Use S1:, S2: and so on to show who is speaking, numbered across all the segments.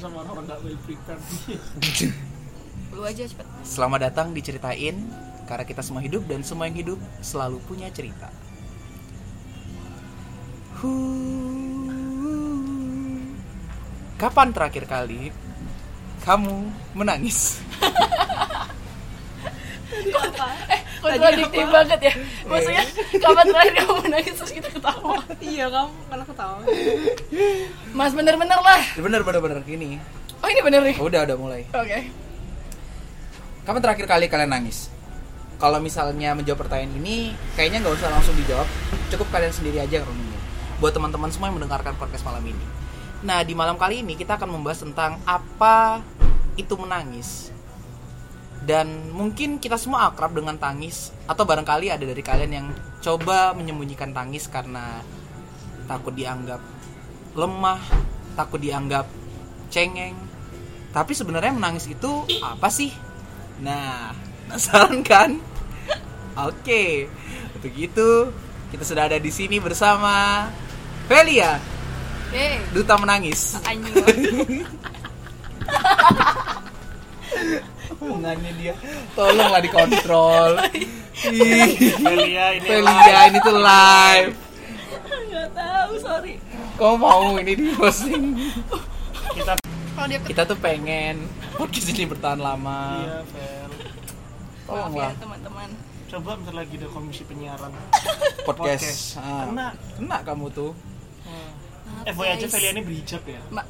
S1: sama orang nggak well prepared
S2: Lu aja cepet.
S3: Selamat datang diceritain karena kita semua hidup dan semua yang hidup selalu punya cerita. Huh. Kapan terakhir kali kamu menangis?
S4: kontradiktif banget ya maksudnya kapan terakhir kamu nangis terus kita ketawa
S2: Iya kamu karena ketawa.
S4: mas bener-bener lah
S3: Bener bener bener gini.
S4: oh ini bener nih oke
S3: Udah udah mulai. Kapan terakhir kali kalian nangis? Kalau misalnya menjawab pertanyaan ini, kayaknya nggak usah langsung dijawab. Cukup kalian sendiri aja renungin. Buat teman-teman semua yang mendengarkan podcast malam ini. Nah, di malam kali ini kita akan membahas tentang apa itu menangis. Dan mungkin kita semua akrab dengan tangis atau barangkali ada dari kalian yang coba menyembunyikan tangis karena takut dianggap lemah, takut dianggap cengeng. Tapi sebenarnya menangis itu apa sih? Nah, penasaran kan? Oke, untuk itu kita sudah ada di sini bersama Velia,
S4: Yeay.
S3: duta menangis.
S2: Anjing.
S3: Hubungannya dia, tolonglah dikontrol. Ih,
S1: Velia ini
S3: iya. Velia ini tuh live.
S4: nggak tahu sorry
S3: Kok mau ini di posting?
S1: kita
S2: Kalau dia
S3: Kita tuh pengen podcast ini bertahan lama.
S1: iya Vel
S4: maaf ya
S3: Tolonglah
S4: teman-teman
S1: coba bentar lagi ada komisi penyiaran
S3: podcast.
S1: Podcast.
S3: Ah,
S1: Kena.
S3: kena kamu tuh.
S4: Maaf,
S1: eh boy aja
S4: guys.
S1: Velia ini berhijab ya
S3: Hmm.
S4: Ma-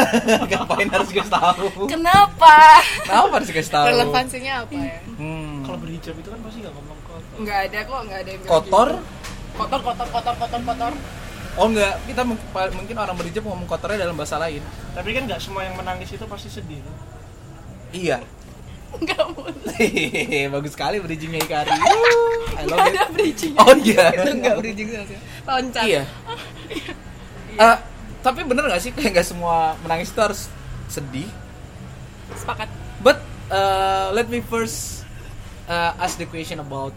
S3: Ngapain harus guys tahu?
S4: kenapa
S3: Kenapa harus guys tahu?
S2: relevansinya apa ya?
S3: Hmm.
S1: kalau berhijab itu kan pasti nggak ngomong kotor
S2: Nggak ada kok, nggak ada yang bilang
S3: Kotor
S2: gitu. Kotor, kotor, kotor, kotor, kotor.
S3: Oh enggak, kita mung- pa- mungkin orang berhijab ngomong kotornya dalam bahasa lain.
S1: tapi kan nggak semua yang menangis itu pasti sedih kan?
S3: Iya.
S4: nggak boleh
S3: Bagus sekali bridgingnya Ikari. I love
S4: nggak
S3: it.
S4: ada bridging
S3: Oh iya.
S2: Nggak berijing sama Loncat.
S3: Iya. Eh, tapi bener gak sih kayak nggak semua menangis itu harus sedih?
S4: sepakat
S3: But eh, let me first eh, ask the question about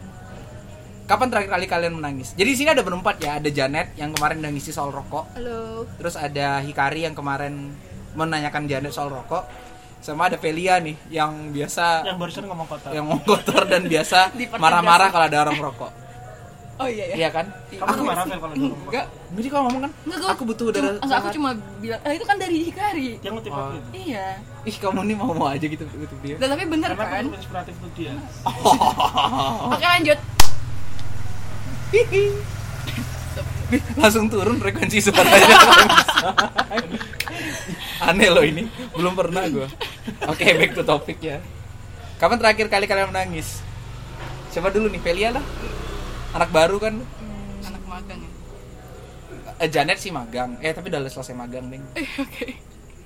S3: kapan terakhir kali kalian menangis. Jadi di sini ada berempat ya, ada Janet yang kemarin udah ngisi soal rokok.
S2: Halo.
S3: Terus ada Hikari yang kemarin menanyakan Janet soal rokok. Sama ada Velia nih yang biasa
S1: yang barusan ngomong kotor
S3: Ah. yang mau kotor dan biasa
S4: Dipertegas.
S3: marah-marah kalau ada orang merokok.
S4: oh iya ya
S3: Iya kan?
S1: kamu tuh marah Vel kalau ada orang kotor
S3: Enggak, jadi kalau ngomong kan aku butuh udara.
S4: cuma, enggak, aku
S3: sehat.
S4: cuma bilang ah, itu kan dari Hikari
S1: yang ngutip
S3: Oh.
S1: aku itu
S4: iya
S3: Ih, kamu nih mau-mau aja gitu gitu dia.
S4: Dan tapi bener
S1: karena
S4: kan
S1: aku inspiratif tuh dia
S3: Ah.
S4: oke lanjut
S3: Hihi. Ih, Langsung turun frekuensi suaranya. Aneh loh ini, belum pernah gua. Oke, back to topic ya. Kapan terakhir kali kalian menangis? Siapa dulu nih, Velia lah. Anak baru kan,
S4: anak magang ya
S3: Eh, Janet sih magang. Eh, tapi udah selesai magang, Neng.
S4: eh oke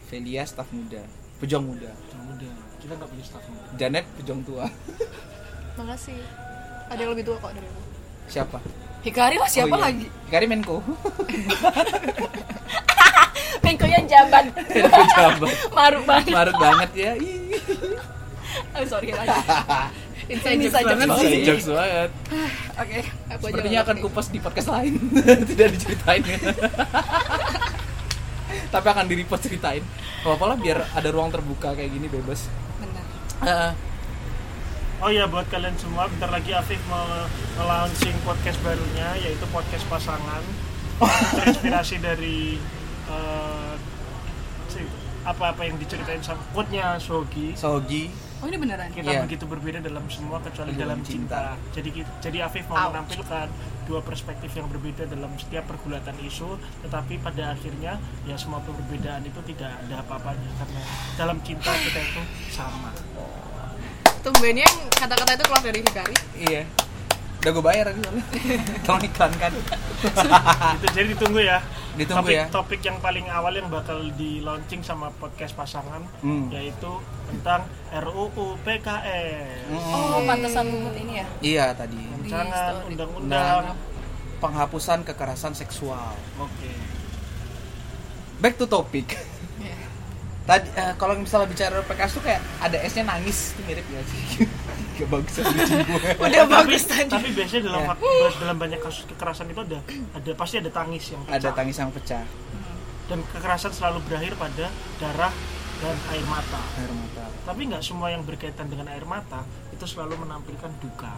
S3: Velia staf muda, pejuang muda.
S1: Yang udah kita nggak punya staff
S3: Janet pejuang tua.
S2: Makasih. Ada yang lebih tua kok dari aku.
S3: Siapa?
S4: Hikari lah siapa
S3: Oh, iya.
S4: lagi
S3: Hikari Menko.
S4: Menkonya jabat
S3: Pejabat.
S4: maruk banget
S3: Marut banget ya. Ih.
S4: oh, sorry lagi
S2: Inside
S4: Ini
S2: jokes
S4: saja
S2: banget
S4: banget.
S2: sih.
S3: Sorry, Jokes banget.
S4: oke
S2: Aku aja
S3: Sepertinya
S2: nggak
S3: akan
S2: ngerti.
S3: kupas di podcast lain. Tidak diceritain ya. Tapi akan di-report ceritain. Gak apa-apa lah biar ada ruang terbuka kayak gini bebas.
S2: Benar.
S3: Eh,
S1: Oh ya buat kalian semua, bentar lagi Afif mau launching podcast barunya yaitu podcast pasangan terinspirasi dari eh, si- apa-apa yang diceritain sama quote-nya Sogi.
S3: Sogi.
S4: oh ini beneran
S1: Kita
S3: Iya.
S1: begitu berbeda dalam semua kecuali
S3: Dalam
S1: dalam cinta. Jadi ki- jadi Afif mau menampilkan dua perspektif yang berbeda dalam setiap pergulatan isu, tetapi pada akhirnya ya semua perbedaan itu tidak ada apa-apanya karena dalam cinta kita itu sama.
S2: Tumbennya yang kata-kata itu keluar dari Hikari.
S3: Iya. Udah gue bayar tadi soalnya. Tolong kan? iklankan.
S1: Itu jadi ditunggu ya.
S3: Ditunggu
S1: topik,
S3: ya.
S1: Topik yang paling awal yang bakal di launching sama podcast pasangan
S3: Hmm.
S1: yaitu tentang RUU PKS.
S4: oh pantesan lumut ini ya
S3: Iya tadi.
S1: Rancangan
S4: Di story.
S1: undang-undang.
S3: Penghapusan kekerasan seksual.
S1: Oke.
S3: Back to topic.
S4: Iya.
S3: Tadi eh, kalau misalnya bicara PKS tuh kayak ada S-nya nangis tuh mirip ya sih. Gak bagus aja gue.
S2: Udah
S1: Tapi,
S2: bagus tadi.
S1: tapi biasanya dalam
S3: Ya.
S1: fak- dalam banyak kasus kekerasan itu ada ada pasti ada tangis yang pecah.
S3: Ada tangis yang pecah.
S1: Dan kekerasan selalu berakhir pada darah dan air mata.
S3: air mata
S1: Tapi nggak semua yang berkaitan dengan air mata itu selalu menampilkan duka.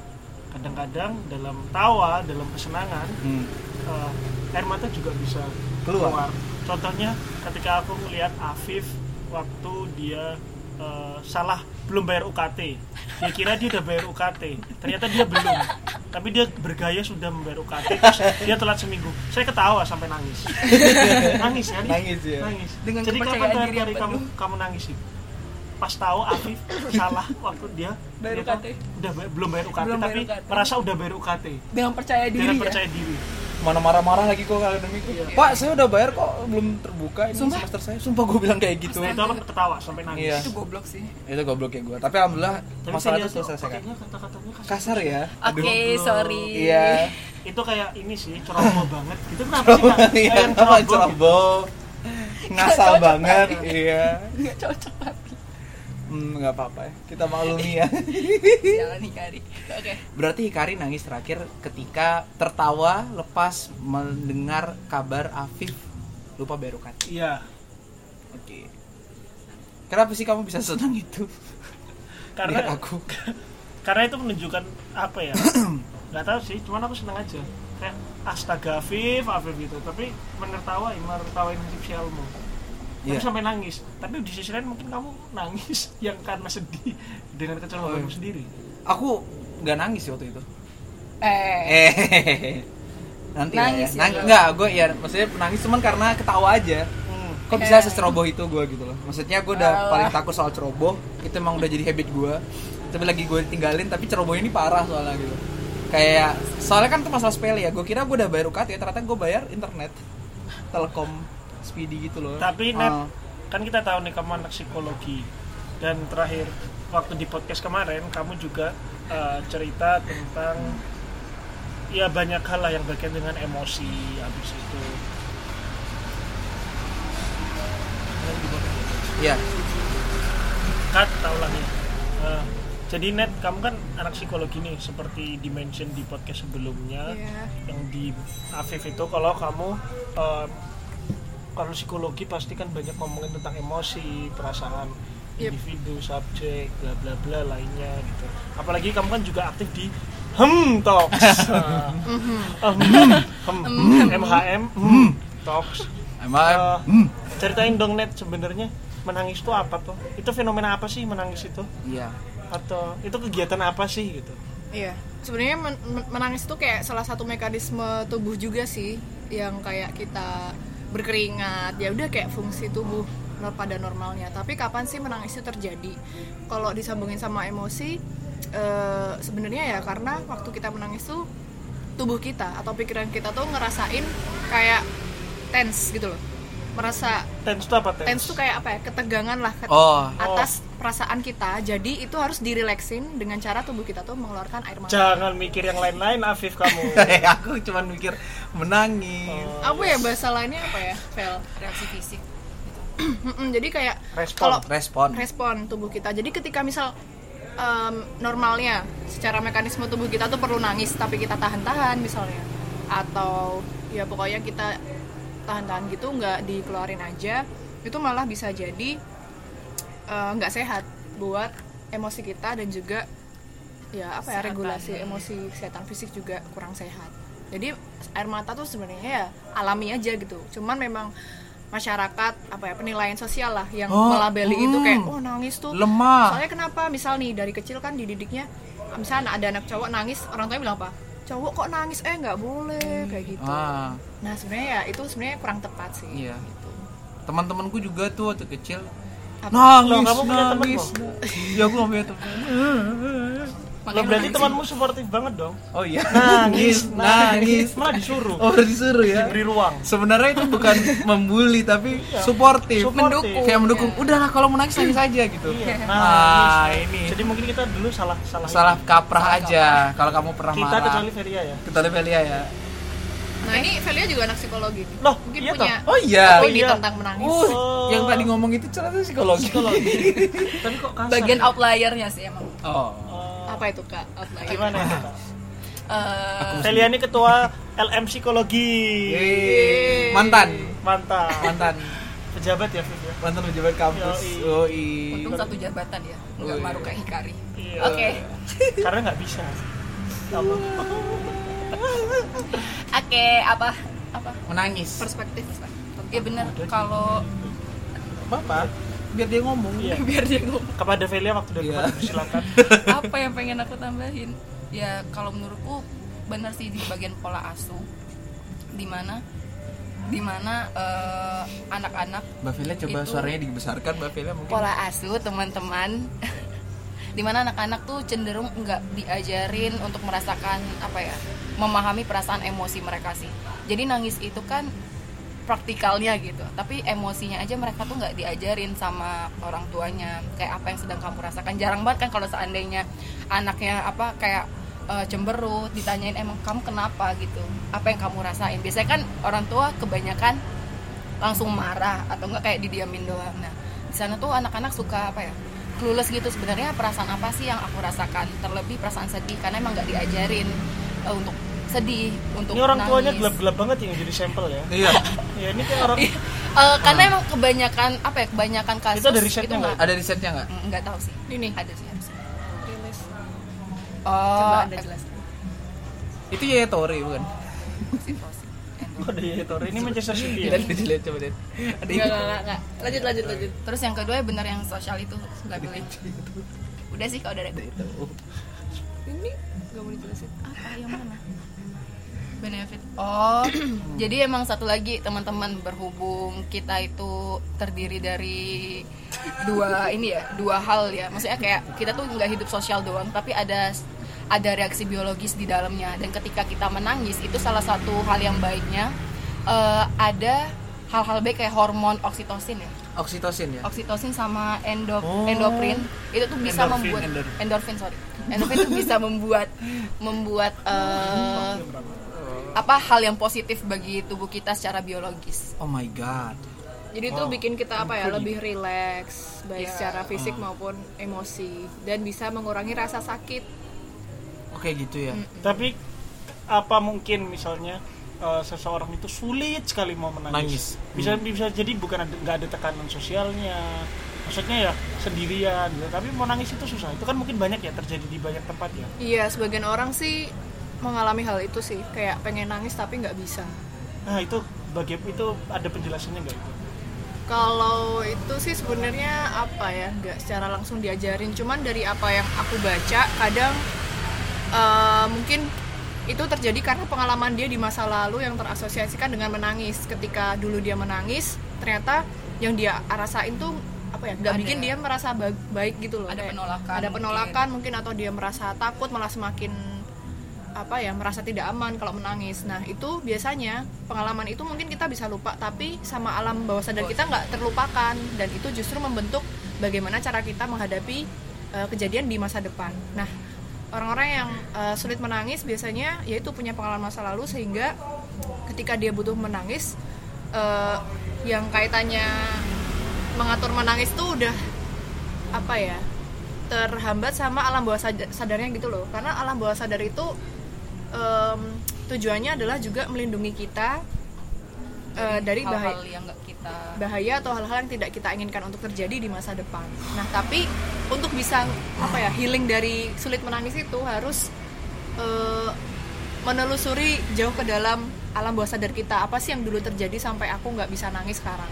S1: Kadang-kadang dalam tawa, dalam kesenangan,
S3: hmm.
S1: eh, air mata juga bisa
S3: Keluar.
S1: keluar. Contohnya ketika aku melihat Afif waktu dia eh, salah belum bayar UKT. Dia kira dia udah bayar UKT, ternyata dia belum. Tapi dia bergaya sudah membayar UKT, terus dia telat seminggu. Saya ketawa sampai nangis. Nangis kan?
S3: Nangis, ya.
S1: Nangis.
S2: Dengan
S1: Jadi kapan
S2: kepercayaan
S1: terakhir
S2: diri
S1: kali
S2: yang
S1: kamu kamu nangis sih? Pas tahu Afif salah waktu dia
S4: Bayar
S1: ternyata
S4: UKT.
S1: udah bay- belum bayar UKT
S4: Belum bayar
S1: tapi
S4: UKT.
S1: merasa udah bayar UKT.
S4: dengan percaya diri
S1: Dengan
S4: ya
S1: percaya diri.
S3: mana marah-marah lagi kok kalau demi
S1: Iya.
S3: pak saya udah bayar kok belum terbuka ini
S4: Sumpah?
S3: semester saya sumpah gue bilang kayak gitu
S1: Nah, Itu apa ketawa sampai nangis.
S3: Iya.
S2: itu goblok sih
S3: itu gobloknya gue tapi alhamdulillah
S1: Tapi
S3: masalah
S1: saya
S3: itu
S1: lihat tuh
S3: selesai kan
S1: pakainya kata-katanya kasar.
S3: kasar ya
S4: oke
S1: Aduh.
S4: sorry
S3: iya
S1: Itu kayak ini sih, ceroboh banget. Itu kenapa sih Kak?
S3: Iya,
S1: Kayak yang
S3: apa
S1: ceroboh. gitu.
S3: ceroboh ngasal
S4: Cocok
S3: banget iya
S4: nggak cocok tapi
S3: hmm nggak apa-apa ya kita maklumi ya
S4: jalan Hikari oke
S3: berarti Hikari nangis terakhir ketika tertawa lepas mendengar kabar Afif lupa berukat
S1: Iya.
S3: oke kenapa sih kamu bisa senang itu
S1: Karena
S3: Lihat Iya, aku
S1: karena itu menunjukkan apa ya? Gak tahu sih, cuman aku seneng aja. Kayak astaga Afif, Afif gitu. Tapi menertawai, menertawain sosialmu. Tapi
S3: Iya.
S1: sampai nangis. Tapi di sisi lain mungkin kamu nangis yang karena sedih dengan kecerobohanmu
S3: Oh, iya.
S1: sendiri.
S3: aku nggak nangis sih waktu itu
S4: eh
S3: eh nanti lah ya.
S4: Nangis ya,
S3: Nang-
S4: Bro.
S3: nggak gue ya maksudnya nangis cuman karena ketawa aja
S1: Hmm.
S3: kok bisa
S4: Eh.
S3: seceroboh itu gue gitu loh maksudnya gue udah
S4: Alah.
S3: paling takut soal ceroboh itu emang udah jadi habit gue tapi lagi gue tinggalin tapi cerobohnya ini parah soalnya gitu kayak soalnya kan itu masalah sepele ya gue kira gue udah bayar UKT ya ternyata gue bayar internet telkom speedy gitu loh
S1: Tapi Nat,
S3: Ah.
S1: kan kita tahu nih kamu anak psikologi dan terakhir waktu di podcast kemarin kamu juga eh, cerita tentang ya banyak hal lah yang berkaitan dengan emosi habis itu.
S3: Iya.
S1: Kat tahu lagi. Eh, jadi Net, kamu kan anak psikologi nih seperti dimention di podcast sebelumnya
S2: Iya.
S1: yang di Afif itu kalau kamu eh, kalau psikologi pasti kan banyak ngomongin tentang emosi, perasaan
S2: Yep.
S1: individu, subjek, bla bla bla lainnya gitu. Apalagi kamu kan juga aktif di Hmm Talks. Ah, Hmm Hmm MHM Hmm Talks.
S3: emang
S1: Eh,
S3: hmm.
S1: Ceritain dong net sebenarnya menangis itu apa tuh? Itu fenomena apa sih menangis itu?
S3: iya
S1: Atau itu kegiatan apa sih gitu?
S2: Iya, sebenarnya men- men- menangis itu kayak salah satu mekanisme tubuh juga sih, yang kayak kita berkeringat. Ya udah kayak fungsi tubuh nor- pada normalnya. Tapi kapan sih menangis itu terjadi? Kalau disambungin sama emosi, eh, sebenarnya ya karena waktu kita menangis tuh tubuh kita atau pikiran kita tuh ngerasain kayak tense gitu loh, merasa
S1: Tense itu apa tense?
S2: tense tuh kayak apa ya ketegangan lah ket-
S3: Oh.
S2: atas perasaan kita jadi itu harus direleksin dengan cara tubuh kita tuh mengeluarkan air mata
S1: Jangan mikir yang lain-lain Afif kamu.
S3: Eh, aku cuman mikir menangis
S2: apa ya bahasa lainnya apa ya Vel
S4: reaksi fisik
S2: Mm-mm, jadi kayak
S1: Respon.
S2: kalau
S3: respon
S2: Oh. respon tubuh kita jadi ketika misal em, normalnya secara mekanisme tubuh kita tuh perlu nangis tapi kita tahan-tahan misalnya atau ya pokoknya kita tahan-tahan gitu nggak dikeluarin aja itu malah bisa jadi eh, nggak sehat buat emosi kita dan juga ya apa ya
S4: Kesehatan.
S2: regulasi emosi kesehatan fisik juga kurang sehat jadi air mata tuh sebenarnya ya alami aja gitu cuman memang masyarakat apa ya penilaian sosial lah yang
S3: Oh,
S2: melabeli itu kayak
S3: hmm.
S2: oh nangis tuh
S3: lemah
S2: soalnya kenapa misal nih dari kecil kan dididiknya misalnya ada anak cowok nangis orang tuanya bilang apa cowok kok nangis eh nggak boleh kayak gitu
S3: ah
S2: nah sebenarnya ya itu sebenarnya kurang tepat sih
S3: Iya.
S2: gitu.
S3: teman-temanku juga tuh waktu kecil
S2: Apa?
S3: nangis
S1: Loh, kamu punya temen
S3: nangis ya aku gak punya temen
S1: Lo berarti temanmu suportif banget dong.
S3: oh iya
S1: Nangis, nangis,
S3: nangis
S1: malah disuruh.
S3: oh udah disuruh ya
S1: Diberi ruang.
S3: sebenarnya itu bukan membuli tapi
S1: Suportif.
S3: suportif mendukung kayak mendukung udahlah kalau mau nangis nangis aja gitu
S1: Iya.
S3: ah
S1: nangis.
S3: ini
S1: Jadi mungkin kita dulu salah salah.
S3: salah kaprah aja kalau kamu pernah
S1: Kita
S3: marah
S1: kecuali Feria ya.
S3: kita Velia ya
S2: nah ini Velia juga anak psikologi nih.
S1: Loh,
S2: mungkin
S1: iya
S2: punya
S3: oh iya
S1: Oh,
S2: opini
S1: iya.
S2: tentang menangis
S3: uh
S1: Oh.
S3: yang tadi ngomong itu cerita psikologi
S1: Psikologi. Tapi kok kasar?
S4: bagian
S1: ya?
S4: outliernya sih emang
S3: oh
S1: Eh,
S2: apa itu kak outline
S1: gimana ya? Kak?
S4: Eh,
S1: Felia ini ketua LM psikologi.
S3: Yeay. mantan
S1: Mantap.
S3: mantan
S1: pejabat ya Viv ya
S3: mantan pejabat kampus
S1: Yoi.
S3: Yoi.
S4: Untung satu jabatan ya, nggak
S3: Wih.
S4: baru kayak Hikari.
S1: Iya.
S4: Oke,
S1: karena nggak bisa Apa?
S4: oke apa apa?
S3: menangis
S2: perspektif
S4: Ya benar kalau
S3: bapak biar dia ngomong
S1: Iya.
S4: biar dia ngomong
S1: kepada Velia waktu dan
S3: Iya.
S1: tempat silakan
S4: apa yang pengen aku tambahin ya kalau menurutku benar sih di bagian pola asuh dimana dimana eh, anak-anak
S3: Mbak Vila coba
S4: Itu-
S3: suaranya dibesarkan Mbak Vila mungkin
S4: pola asuh teman-teman dimana anak-anak tuh cenderung nggak diajarin untuk merasakan apa ya memahami perasaan emosi mereka sih jadi nangis itu kan praktikalnya gitu tapi emosinya aja mereka tuh nggak diajarin sama orang tuanya kayak apa yang sedang kamu rasakan jarang banget kan kalau seandainya anaknya apa kayak eh, cemberut ditanyain emang kamu kenapa gitu apa yang kamu rasain biasanya kan orang tua kebanyakan langsung marah atau enggak kayak didiamin doang. Nah, di sana tuh anak-anak suka apa ya? Clueless gitu sebenarnya perasaan apa sih yang aku rasakan? Terlebih perasaan sedih karena emang nggak diajarin eh, untuk sedih, untuk
S1: ini orang tuanya
S4: nangis.
S1: gelap-gelap banget yang jadi sampel ya
S3: iya
S1: ya ini kayak orang
S4: Eh, karena emang kebanyakan apa ya? Kebanyakan
S1: Ah.
S4: kasus gitu
S1: Itu ada risetnya nggak?
S3: ada risetnya nggak
S4: Mm, nggak tahu sih.
S2: ini
S4: Ada sih harusnya.
S2: rilis
S4: Oh,
S2: coba anda jelaskan
S3: itu ya Tori bukan
S4: oksitosin.
S1: Kok ada ya Tore? ini Manchester City ya
S3: lihat lihat, lihat coba lihat ada
S2: nggak nggak, nggak nggak lanjut lanjut lanjut
S4: Terus yang kedua ya benar yang sosial itu nggak boleh. Udah sih kalau dari
S3: itu
S2: ini nggak mau dijelasin
S4: apa yang mana benefit oh jadi emang satu lagi teman-teman berhubung kita itu terdiri dari dua ini ya dua hal ya maksudnya kayak kita tuh nggak hidup sosial doang tapi ada ada reaksi biologis di dalamnya dan ketika kita menangis itu salah satu hal yang baiknya eh, ada hal-hal baik kayak hormon oksitosin ya
S3: oksitosin ya
S4: oksitosin sama endo
S1: Oh.
S4: endoprin itu tuh bisa
S1: Endorfin,
S4: membuat
S3: endorfin.
S4: endorfin sorry endorfin itu bisa membuat membuat eh, apa hal yang positif bagi tubuh kita secara biologis
S3: oh my god
S2: jadi itu bikin kita apa ya lebih rileks baik
S4: Iya.
S2: secara fisik maupun emosi dan bisa mengurangi rasa sakit
S3: oke gitu ya
S1: tapi apa mungkin misalnya eh, seseorang itu sulit sekali mau menangis
S3: Nangis. Hmm.
S1: bisa bisa jadi bukan ada- nggak ada tekanan sosialnya maksudnya ya sendirian gitu. tapi mau nangis itu susah itu kan mungkin banyak ya terjadi di banyak tempat ya
S2: iya sebagian orang sih mengalami hal itu sih kayak pengen nangis tapi nggak bisa
S1: nah itu bagian itu ada penjelasannya nggak itu
S2: Kalau itu sih sebenarnya apa ya, nggak secara langsung diajarin. Cuman dari apa yang aku baca, kadang eh, mungkin itu terjadi karena pengalaman dia di masa lalu yang terasosiasikan dengan menangis. Ketika dulu dia menangis, ternyata yang dia rasain tuh apa ya, nggak
S4: Ada.
S2: bikin dia merasa ba- baik gitu loh.
S4: Ada
S2: Kayak
S4: penolakan
S2: Ada penolakan mungkin. atau dia merasa takut malah semakin apa ya merasa tidak aman kalau menangis. Nah itu biasanya pengalaman itu mungkin kita bisa lupa, tapi sama alam bawah sadar kita nggak terlupakan dan itu justru membentuk bagaimana cara kita menghadapi eh, kejadian di masa depan. Nah orang-orang yang eh, sulit menangis biasanya yaitu punya pengalaman masa lalu sehingga ketika dia butuh menangis eh, yang kaitannya mengatur menangis tuh udah apa ya terhambat sama alam bawah sadar- sadarnya gitu loh karena alam bawah sadar itu em, tujuannya adalah juga melindungi kita eh, dari bahaya
S4: hal-hal yang nggak kita
S2: bahaya atau hal-hal yang tidak kita inginkan untuk terjadi di masa depan. Nah, tapi untuk bisa apa ya healing dari sulit menangis itu harus eh, menelusuri jauh ke dalam alam bawah sadar kita apa sih yang dulu terjadi sampai aku nggak bisa nangis sekarang.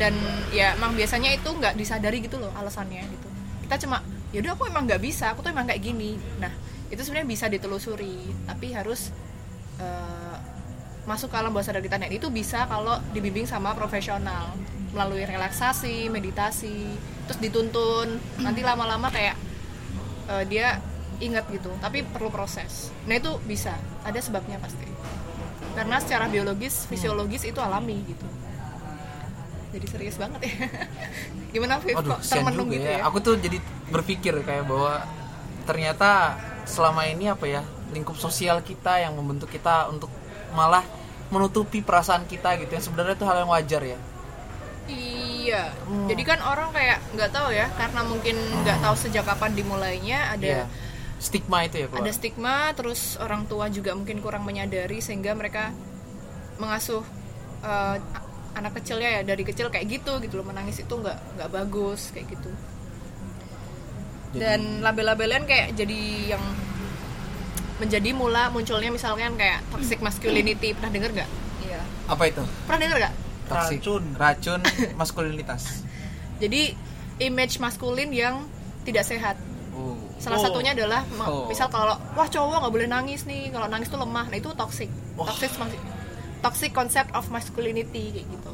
S2: Dan ya emang biasanya itu nggak disadari gitu loh alasannya gitu. Kita cuma yaudah aku emang nggak bisa, aku tuh emang kayak gini. Nah itu sebenarnya bisa ditelusuri, tapi harus eh, masuk ke alam bawah sadar kita dan itu bisa kalau dibimbing sama profesional melalui relaksasi, meditasi, terus dituntun nanti lama-lama kayak eh, dia ingat gitu, tapi perlu proses. Nah itu bisa, ada sebabnya pasti. Karena secara
S3: Hmm.
S2: biologis, fisiologis itu alami gitu. Jadi serius banget ya. Gimana Viv?
S3: Aduh,
S2: Kok
S3: kesian
S2: termenung
S3: juga
S2: gitu
S3: ya.
S2: ya?
S3: Aku tuh jadi berpikir kayak bahwa ternyata selama ini apa ya lingkup sosial kita yang membentuk kita untuk malah menutupi perasaan kita gitu yang sebenarnya itu hal yang wajar ya.
S2: Iya.
S3: Hmm.
S2: Jadi kan orang kayak nggak tahu ya, karena mungkin nggak tahu sejak kapan dimulainya ada.
S3: Iya. Stigma itu ya keluar.
S2: ada stigma terus orang tua juga mungkin kurang menyadari sehingga mereka mengasuh eh, a- anak kecilnya ya dari kecil kayak gitu gitu loh menangis itu nggak nggak bagus kayak gitu
S3: Jadi-
S2: dan label-labelan kayak jadi yang menjadi mula munculnya misalnya kayak toxic masculinity pernah denger nggak
S4: Iya.
S3: apa itu
S2: pernah denger nggak
S3: Toxic.
S1: Racun.
S3: racun maskulinitas
S2: jadi image maskulin yang tidak sehat
S3: oh
S2: salah
S1: Oh.
S2: satunya adalah ma-
S3: Oh.
S2: misal kalau wah cowok nggak boleh nangis nih kalau nangis tuh lemah nah itu toxic
S1: Wah.
S2: toxic mas- toxic concept of masculinity kayak gitu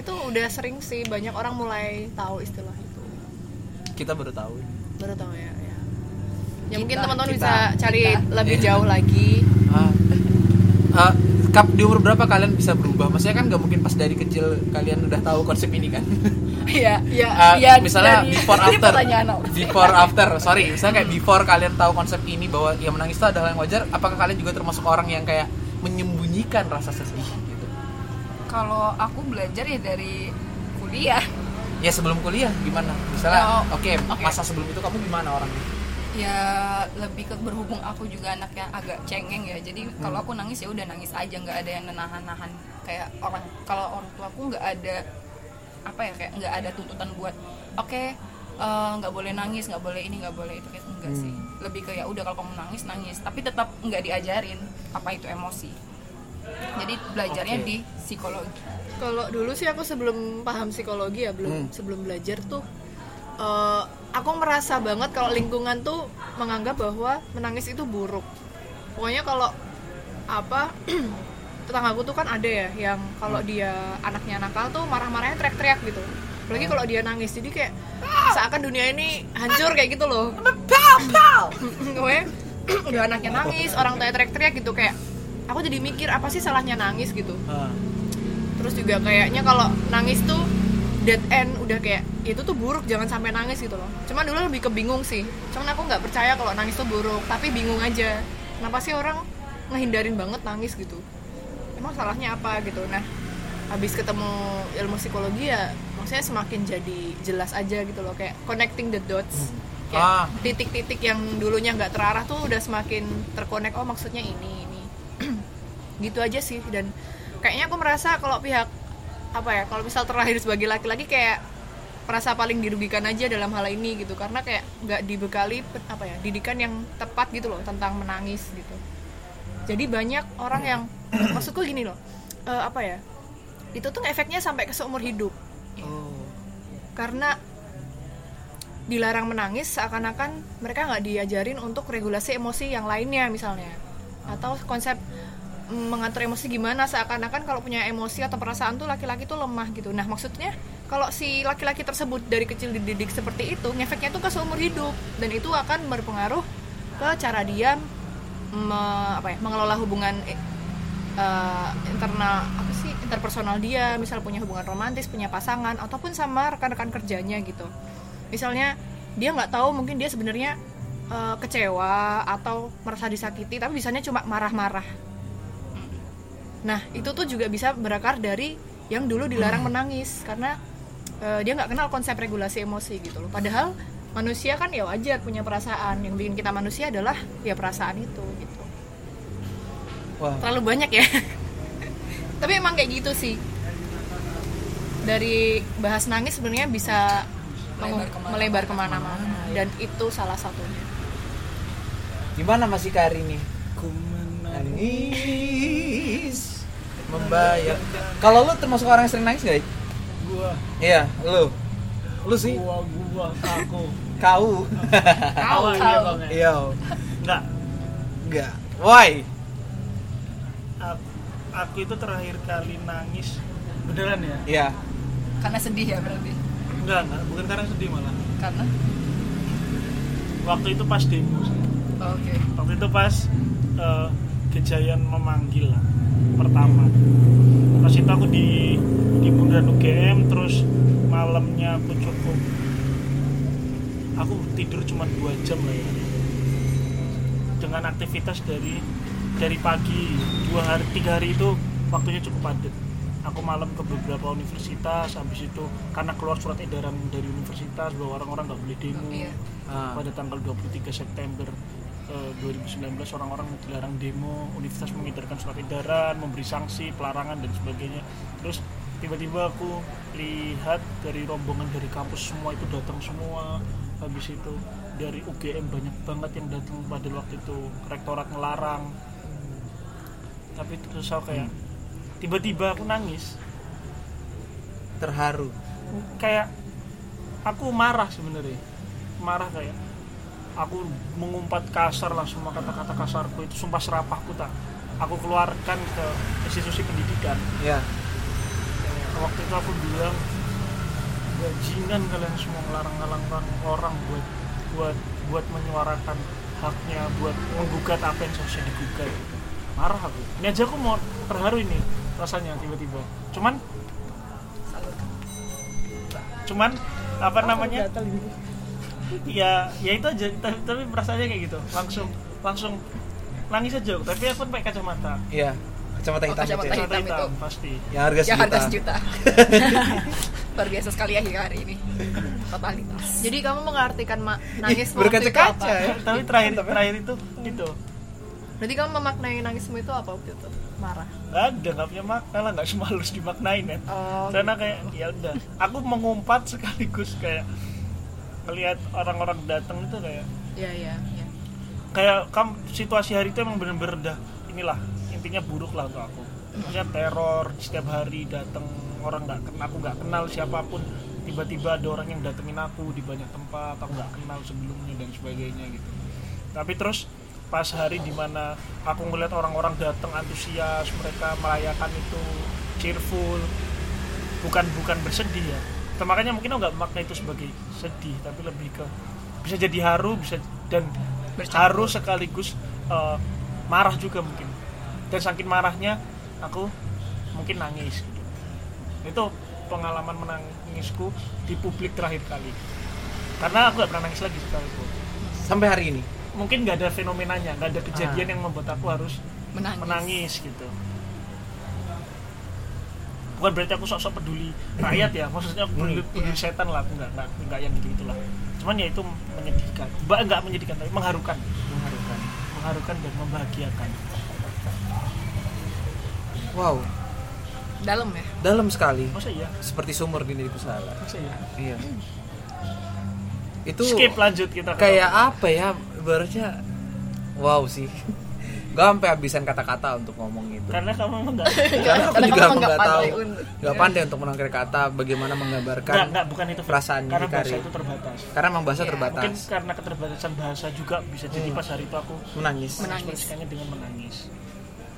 S2: itu udah sering sih banyak orang mulai tahu istilah itu
S3: kita baru tahu
S2: baru tahu ya ya, Ya, mungkin
S4: Kita,
S2: teman-teman
S3: kita,
S2: bisa cari
S4: kita.
S2: lebih
S3: Iya.
S2: jauh lagi
S3: ah. Ah, kap di umur berapa kalian bisa berubah maksudnya kan nggak mungkin pas dari kecil kalian udah tahu konsep ini kan
S4: Iya.
S2: ya
S3: Ah,
S4: Iya,
S3: misalnya
S4: dari-
S3: before
S4: dari
S3: after
S4: pertanyaan aku.
S3: before after sorry misalnya kayak before kalian tahu konsep ini bahwa yang menangis itu adalah yang wajar apakah kalian juga termasuk orang yang kayak menyembunyikan rasa sedih gitu
S4: Kalau aku belajar ya dari kuliah.
S3: ya sebelum kuliah gimana misalnya
S4: Oh,
S3: oke
S4: oke.
S3: masa sebelum itu kamu gimana orangnya
S4: ya lebih ke berhubung aku juga anak yang agak cengeng ya jadi kalau aku nangis ya udah nangis aja nggak ada yang nahan-nahan kayak orang kalau orang tua aku nggak ada apa ya kayak nggak ada tuntutan buat oke eh, nggak boleh nangis nggak boleh ini nggak boleh itu kayak enggak sih lebih ke ya udah kalau kamu nangis nangis tapi tetap nggak diajarin apa itu emosi jadi belajarnya
S3: Oke.
S4: di psikologi
S2: kalau dulu sih aku sebelum paham psikologi ya belum
S3: Hmm.
S2: sebelum belajar tuh eh, aku merasa banget kalau lingkungan tuh menganggap bahwa menangis itu buruk pokoknya kalau apa tetanggaku tuh kan ada ya yang kalau dia anaknya nakal tuh marah-marahnya teriak-teriak gitu apalagi kalau dia nangis jadi kayak seakan dunia ini hancur kayak gitu loh gue udah anaknya nangis orang tuanya teriak-teriak gitu kayak aku jadi mikir apa sih salahnya nangis gitu
S3: Ah.
S2: terus juga kayaknya kalau nangis tuh dead end udah kayak itu tuh buruk jangan sampai nangis gitu loh cuman dulu lebih ke bingung sih cuman aku nggak percaya kalau nangis tuh buruk tapi bingung aja kenapa sih orang ngehindarin banget nangis gitu emang salahnya apa gitu nah habis ketemu ilmu psikologi ya maksudnya semakin jadi jelas aja gitu loh kayak connecting the dots kayak
S3: Ah.
S2: titik-titik yang dulunya nggak terarah tuh udah semakin terkonek oh maksudnya ini ini gitu aja sih dan kayaknya aku merasa kalau pihak apa ya kalau misal terlahir sebagai laki-laki kayak merasa paling dirugikan aja dalam hal ini gitu karena kayak nggak dibekali pe- apa ya didikan yang tepat gitu loh tentang menangis gitu jadi banyak orang yang maksudku gini loh eh, apa ya itu tuh efeknya sampai ke seumur hidup
S4: Iya.
S3: Oh.
S2: karena dilarang menangis seakan-akan mereka nggak diajarin untuk regulasi emosi yang lainnya misalnya atau konsep mm, mengatur emosi gimana seakan-akan kalau punya emosi atau perasaan tuh laki-laki tuh lemah gitu nah maksudnya kalau si laki-laki tersebut dari kecil dididik seperti itu ngefeknya tuh ke seumur hidup dan itu akan berpengaruh ke cara dia me- apa ya, mengelola hubungan eh, eh, internal apa sih interpersonal dia misal punya hubungan romantis punya pasangan ataupun sama rekan-rekan kerjanya gitu misalnya dia nggak tahu mungkin dia sebenarnya eh, kecewa atau merasa disakiti tapi bisanya cuma marah-marah nah itu tuh juga bisa berakar dari yang dulu dilarang menangis karena eh, dia nggak kenal konsep regulasi emosi gitu loh padahal manusia kan ya wajar punya perasaan yang bikin kita manusia adalah ya perasaan itu gitu
S3: wah
S2: terlalu banyak ya tapi emang kayak gitu sih dari bahas nangis sebenarnya bisa
S4: Melebar
S2: melebar,
S4: kemana-mana.
S2: kemana-mana dan itu salah satunya
S3: gimana masih ke hari ini ku menangis membayar kalau lu termasuk orang yang sering nangis gak
S1: Gua,
S3: iya lu lu sih
S1: gua, gua, aku.
S3: kau
S1: Kau, iya bang ya.
S3: iya
S1: Enggak,
S3: enggak why
S1: aku, aku itu terakhir kali nangis beneran ya?
S3: iya
S4: karena sedih ya berarti
S1: Enggak, enggak, bukan karena sedih malah.
S4: karena
S1: Waktu itu pas demo sih.
S4: oke
S1: Waktu itu pas eh, kejayaan memanggil lah, pertama. Pas itu aku di di bundaran UGM terus malamnya aku cukup aku tidur cuma dua jam lah ya dengan aktivitas dari dari pagi dua hari tiga hari itu waktunya cukup padat aku malam ke beberapa universitas habis itu karena keluar surat edaran dari universitas bahwa orang-orang nggak boleh demo
S4: Iya.
S3: Ah,
S1: pada tanggal 23 September eh, 2019 orang-orang dilarang demo, universitas mengedarkan surat edaran, memberi sanksi, pelarangan dan sebagainya. Terus tiba-tiba aku lihat dari rombongan dari kampus semua itu datang semua. Habis itu dari UGM banyak banget yang datang pada waktu itu rektorat ngelarang. Tapi terus aku kayak tiba-tiba aku nangis
S3: terharu
S1: kayak aku marah sebenarnya marah kayak aku mengumpat kasar lah semua kata-kata kasarku itu sumpah serapahku tak aku keluarkan ke institusi pendidikan
S3: ya
S1: Kayak waktu itu aku bilang bajingan kalian semua ngelarang-larang orang buat buat buat menyuarakan haknya buat menggugat apa yang seharusnya digugat marah aku ini aja aku mau terharu ini rasanya tiba-tiba cuman cuman apa namanya ya ya itu aja tapi, tapi perasaannya kayak gitu langsung langsung nangis aja aku. tapi aku pakai kacamata
S3: ya kacamata
S4: Oh,
S3: hitam gitu ya.
S4: kacamata
S1: kacamata
S4: hitam itu.
S1: hitam pasti
S3: yang harga
S2: Ya,
S4: yang
S2: kan,
S3: sejuta
S4: harga sejuta luar biasa sekali ya hari ini totalitas
S2: Jadi kamu mengartikan ma- nangis
S3: Ih,
S2: waktu itu apa?
S3: berkaca-kaca ya.
S1: tapi terakhir terakhir itu itu
S2: Berarti kamu memaknai nangismu itu apa waktu itu? Marah.
S1: nggak ada nggak punya makna lah nggak semua harus dimaknain ya
S2: Oh,
S1: karena kayak ya udah aku mengumpat sekaligus kayak melihat orang-orang datang itu kayak
S2: Iya, iya, iya.
S1: kayak kam situasi hari itu emang bener-bener dah inilah intinya buruk lah untuk aku maksudnya teror setiap hari datang orang nggak kenal aku nggak kenal siapapun tiba-tiba ada orang yang datengin aku di banyak tempat aku nggak kenal sebelumnya dan sebagainya gitu tapi terus pas hari dimana aku ngeliat orang-orang datang antusias mereka merayakan itu cheerful bukan bukan bersedih ya Tem- makanya mungkin aku nggak makna itu sebagai sedih tapi lebih ke bisa jadi haru bisa dan haru sekaligus eh, marah juga mungkin dan saking marahnya aku mungkin nangis gitu. itu pengalaman menangisku di publik terakhir kali karena aku nggak pernah nangis lagi sekalipun
S3: sampai hari ini
S1: mungkin nggak ada fenomenanya nggak ada kejadian yang membuat aku harus
S4: menangis,
S1: menangis gitu bukan berarti aku sok-sok peduli rakyat ya maksudnya aku peduli, peduli setan lah aku nggak nggak nggak yang gitu gitulah cuman ya itu menyedihkan Ba- nggak menyedihkan tapi mengharukan mengharukan mengharukan dan membahagiakan
S3: wow
S4: dalam ya
S3: dalam sekali
S1: masa iya
S3: seperti sumur di diriku sendiri.
S1: masa iya
S3: iya itu
S1: skip lanjut kita ke-
S3: kayak apa ya barunya wow sih gak sampai habisan kata-kata untuk ngomong itu
S1: karena kamu emang nggak
S3: karena aku
S4: Karena
S3: juga
S4: kamu
S3: nggak
S4: nggak
S3: tahu
S4: pandai untuk-
S3: nggak pandai untuk menangkir kata bagaimana menggambarkan
S1: nggak nggak bukan itu
S3: perasaan
S1: karena
S3: Hikari.
S1: bahasa itu Kan terbatas
S3: karena memang bahasa terbatas
S1: mungkin karena keterbatasan bahasa juga bisa jadi pas hari itu aku
S3: menangis
S4: Menangis.
S1: mengekspresikannya dengan menangis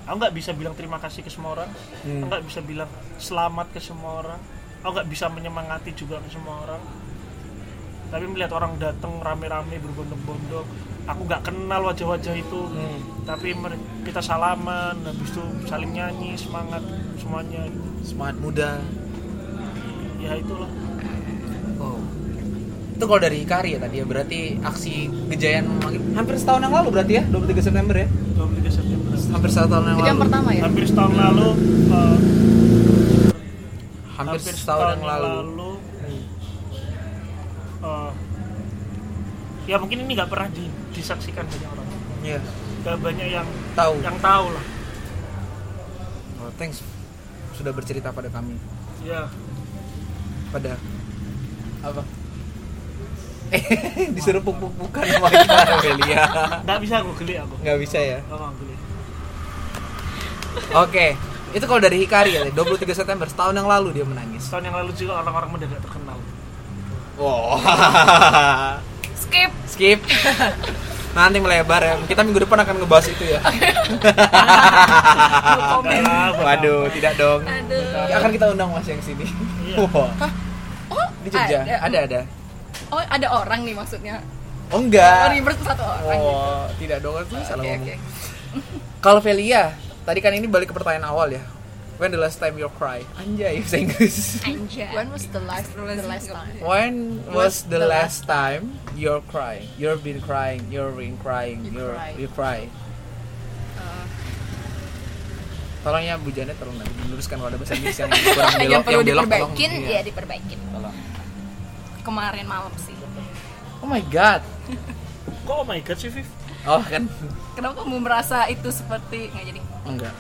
S1: aku nggak bisa bilang terima kasih ke semua orang
S3: Hmm.
S1: aku nggak bisa bilang selamat ke semua orang aku nggak bisa menyemangati juga ke semua orang tapi melihat orang datang rame-rame berbondong-bondong aku nggak kenal wajah-wajah itu
S3: Hmm.
S1: tapi mer- kita salaman habis itu saling nyanyi semangat semuanya
S3: semangat muda
S1: ya itulah
S3: oh itu kalau dari Hikari ya tadi ya berarti aksi kejayaan memanggil hampir setahun yang lalu berarti ya 23 September ya
S1: 23 September
S3: hampir satu tahun yang
S4: itu
S3: lalu
S4: yang pertama ya
S1: hampir setahun lalu eh,
S3: hampir, setahun yang lalu,
S1: eh, ya mungkin ini nggak pernah di- disaksikan banyak orang
S3: Iya.
S1: nggak banyak yang
S3: tahu
S1: yang tahu lah
S3: Oh, thanks sudah bercerita pada kami
S1: ya
S3: pada apa disuruh pupuk-pukan sama kita Amelia
S1: nggak bisa aku geli aku
S3: nggak bisa ya
S1: nggak mau geli
S3: oke itu kalau dari Hikari ya 23 September setahun yang lalu dia menangis
S1: setahun yang lalu juga orang-orang mendadak terkenal
S3: wow
S4: skip
S3: Oh. skip nanti melebar ya kita minggu depan akan ngebahas itu ya
S1: Nggak lah, buat
S3: waduh tidak dong
S4: aduh
S3: akan kita undang mas yang sini
S1: Iya.
S3: Wah,
S4: oh
S3: di Jogja ada ada
S4: oh ada orang nih maksudnya
S3: oh enggak
S4: oh, reverse satu orang
S3: Oh, tidak dong, aku salah
S4: oke
S3: ngomong.
S4: oke
S3: Kalau Velia, tadi kan ini balik ke pertanyaan awal ya. When the last time you cry? Anjay, bahasa Inggris.
S4: anjay
S2: When was the last the last time?
S3: When was the last time you're crying? You've been crying, you've been crying,
S2: You
S3: you're
S2: cry.
S3: you cry. Tolong ya Bu Janet tolong nanti diluruskan kalau ada bahasa Inggris yang kurang belok,
S4: yang perlu
S3: belok,
S4: diperbaikin
S3: tolong.
S4: ya
S3: Iya,
S4: diperbaikin
S3: tolong.
S4: kemarin malam sih
S3: Oh my god.
S1: kok oh my god sih Viv
S3: oh kan
S4: Kenapa kamu merasa itu seperti nggak jadi?
S3: enggak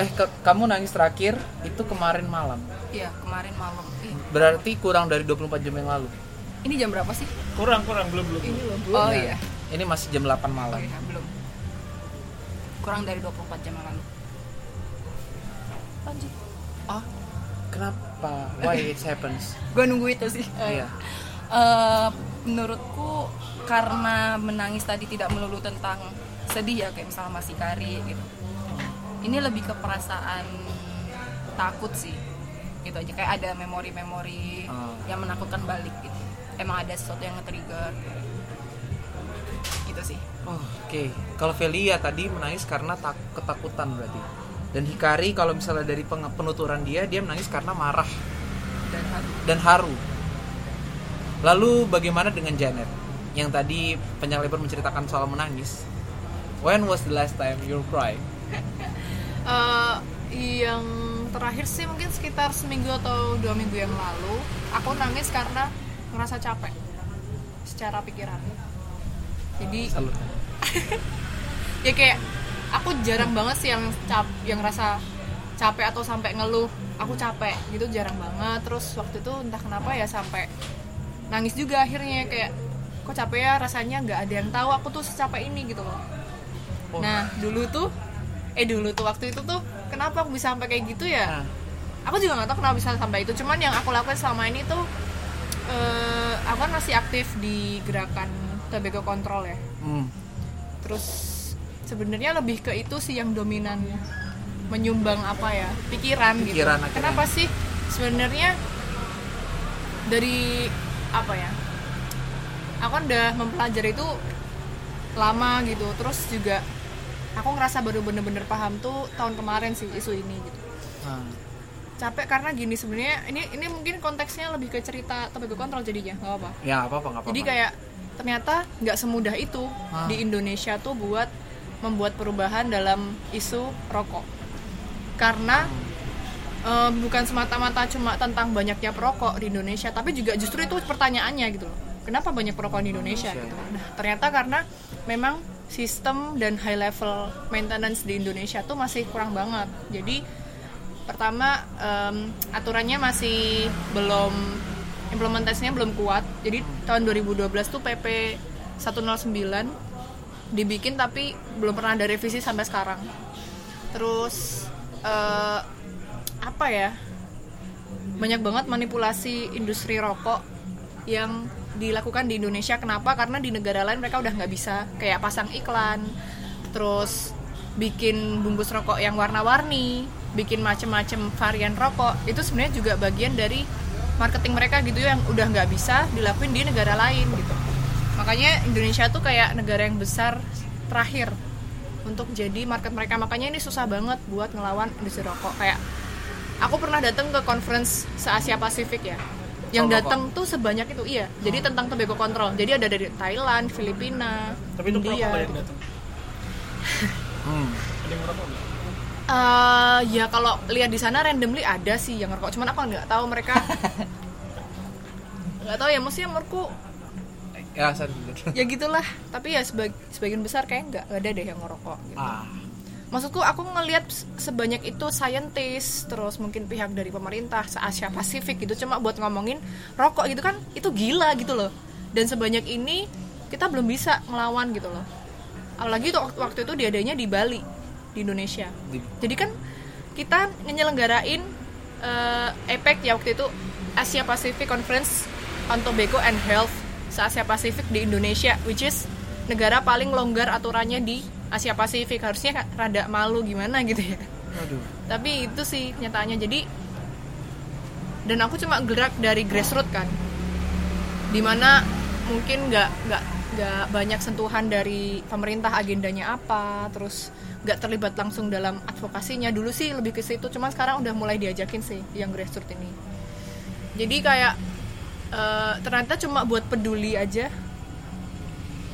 S3: eh ke- kamu nangis terakhir itu kemarin malam
S4: Iya kemarin malam. Ih,
S3: berarti kurang dari 24 jam yang lalu
S4: Ini jam berapa sih?
S1: kurang kurang belum belum
S2: ini loh bu
S3: Nah,
S4: Oh iya.
S3: ini masih jam 8
S4: Oh
S3: malam
S4: iya belum. Kurang dari 24 jam yang lalu. Lanjut. Oh,
S3: kenapa why it happens
S4: gue nunggu itu sih.
S3: Iya.
S4: Eh, menurutku karena menangis tadi tidak melulu tentang sedih ya kayak misalnya masih kari gitu ini lebih ke perasaan takut sih gitu aja kayak ada memori-memori
S3: Oh.
S4: yang menakutkan balik gitu emang ada sesuatu yang nge-trigger gitu sih
S3: Oh, Oke, kalau Velia tadi menangis karena tak- ketakutan berarti. Dan Hikari kalau misalnya dari peng- penuturan dia, dia menangis karena marah
S4: dan harus
S3: dan haru. Lalu bagaimana dengan Janet? Yang tadi penyanyi lebar menceritakan soal menangis. When was the last time you cry?
S2: Eh, yang terakhir sih mungkin sekitar seminggu atau dua minggu yang lalu aku nangis karena ngerasa capek secara pikiran jadi
S3: Salurkan.
S2: ya kayak aku jarang banget sih yang cap yang rasa capek atau sampai ngeluh aku capek gitu jarang banget terus waktu itu entah kenapa ya sampai nangis juga akhirnya kayak kok capek ya rasanya nggak ada yang tahu aku tuh secapek ini gitu loh
S3: Oh.
S2: nah dulu tuh eh dulu tuh waktu itu tuh kenapa aku bisa sampai kayak gitu ya
S3: Nah,
S2: aku juga nggak tahu kenapa bisa sampai itu cuman yang aku lakukan selama ini tuh eh, aku kan masih aktif di gerakan tobacco control ya
S3: hmm,
S2: terus sebenarnya lebih ke itu sih yang dominan menyumbang apa ya pikiran, gitu
S3: Pikiran akhirnya.
S2: kenapa sih sebenarnya dari apa ya aku kan udah mempelajari itu lama gitu terus juga aku ngerasa baru bener-bener paham tuh tahun kemarin sih isu ini gitu
S3: nah,
S2: capek karena gini sebenarnya ini ini mungkin konteksnya lebih ke cerita tobacco control jadinya nggak apa-apa
S3: ya apa apa nggak apa.
S2: jadi kayak ternyata nggak semudah itu
S3: Ah.
S2: di Indonesia tuh buat membuat perubahan dalam isu rokok. Karena eh, bukan semata-mata cuma tentang banyaknya perokok di Indonesia, tapi juga justru itu pertanyaannya gitu loh. Kenapa banyak perokok di Indonesia gitu. Nah, ternyata karena memang sistem dan high level maintenance di Indonesia tuh masih kurang banget. Jadi pertama em, aturannya masih belum implementasinya belum kuat jadi tahun 2012 tuh PP 109 dibikin tapi belum pernah ada revisi sampai sekarang terus eh, apa ya banyak banget manipulasi industri rokok yang dilakukan di Indonesia kenapa karena di negara lain mereka udah nggak bisa kayak pasang iklan terus bikin bungkus rokok yang warna-warni bikin macem-macem varian rokok itu sebenarnya juga bagian dari marketing mereka gitu yang udah nggak bisa dilakuin di negara lain gitu makanya Indonesia tuh kayak negara yang besar terakhir untuk jadi market mereka makanya ini susah banget buat ngelawan industri rokok kayak aku pernah datang ke conference se Asia Pasifik ya yang
S3: Soal rokok.
S2: datang tuh sebanyak itu iya jadi tentang tobacco control jadi ada dari Thailand Filipina
S1: tapi itu
S2: India
S1: perokok yang
S2: gitu.
S1: datang
S3: Hmm.
S1: ada yang merokok nggak?
S2: Eh, ya kalau lihat di sana randomly ada sih yang ngerokok cuman aku nggak tahu mereka nggak tahu ya maksudnya menurutku
S3: Ya saya dulu.
S2: ya gitulah tapi ya sebag- sebagian besar kayak nggak nggak ada deh yang ngerokok gitu.
S3: Ah,
S2: maksudku aku ngelihat s- sebanyak itu scientist terus mungkin pihak dari pemerintah se Asia Pasifik gitu cuma buat ngomongin rokok gitu kan itu gila gitu loh dan sebanyak ini kita belum bisa ngelawan gitu loh apalagi tuh waktu, waktu itu diadanya di Bali di Indonesia
S3: di-
S2: jadi kan kita nyelenggarain eh, APEC ya waktu itu Asia Pacific Conference on Tobacco and Health se Asia Pasifik di Indonesia which is negara paling longgar aturannya di Asia Pasifik harusnya ka- rada malu gimana gitu ya
S3: aduh.
S2: tapi itu sih kenyataannya jadi dan aku cuma gerak dari grassroots kan dimana mungkin nggak nggak nggak banyak sentuhan dari pemerintah agendanya apa terus nggak terlibat langsung dalam advokasinya dulu sih lebih ke situ cuman sekarang udah mulai diajakin sih yang grassroots ini jadi kayak eh, ternyata cuma buat peduli aja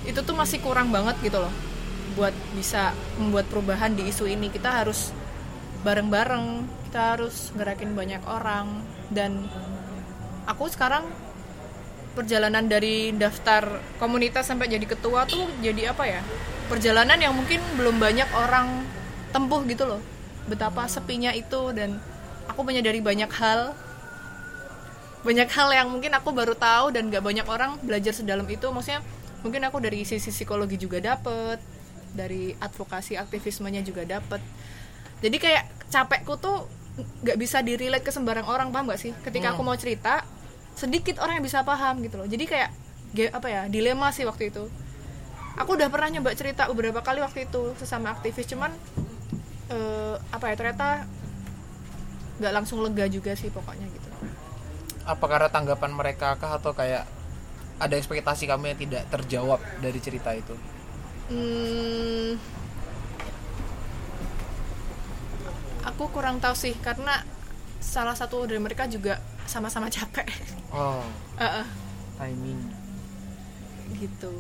S2: itu tuh masih kurang banget gitu loh buat bisa membuat perubahan di isu ini kita harus bareng-bareng kita harus gerakin banyak orang dan aku sekarang perjalanan dari daftar komunitas sampai jadi ketua tuh jadi apa ya? Perjalanan yang mungkin belum banyak orang tempuh gitu loh. Betapa sepinya itu dan aku menyadari banyak hal banyak hal yang mungkin aku baru tahu dan gak banyak orang belajar sedalam itu maksudnya mungkin aku dari sisi psikologi juga dapet dari advokasi aktivismenya juga dapet jadi kayak capekku tuh gak bisa direlate ke sembarang orang paham gak sih ketika aku mau cerita sedikit orang yang bisa paham gitu loh jadi kayak ge- apa ya dilema sih waktu itu aku udah pernah nyoba cerita beberapa kali waktu itu sesama aktivis cuman eh, apa ya ternyata nggak langsung lega juga sih pokoknya gitu
S3: apa karena tanggapan mereka kah atau kayak ada ekspektasi kamu yang tidak terjawab dari cerita itu
S2: Hmm, aku kurang tahu sih karena salah satu dari mereka juga sama-sama capek
S3: oh
S2: Eh, eh,
S3: timing
S2: gitu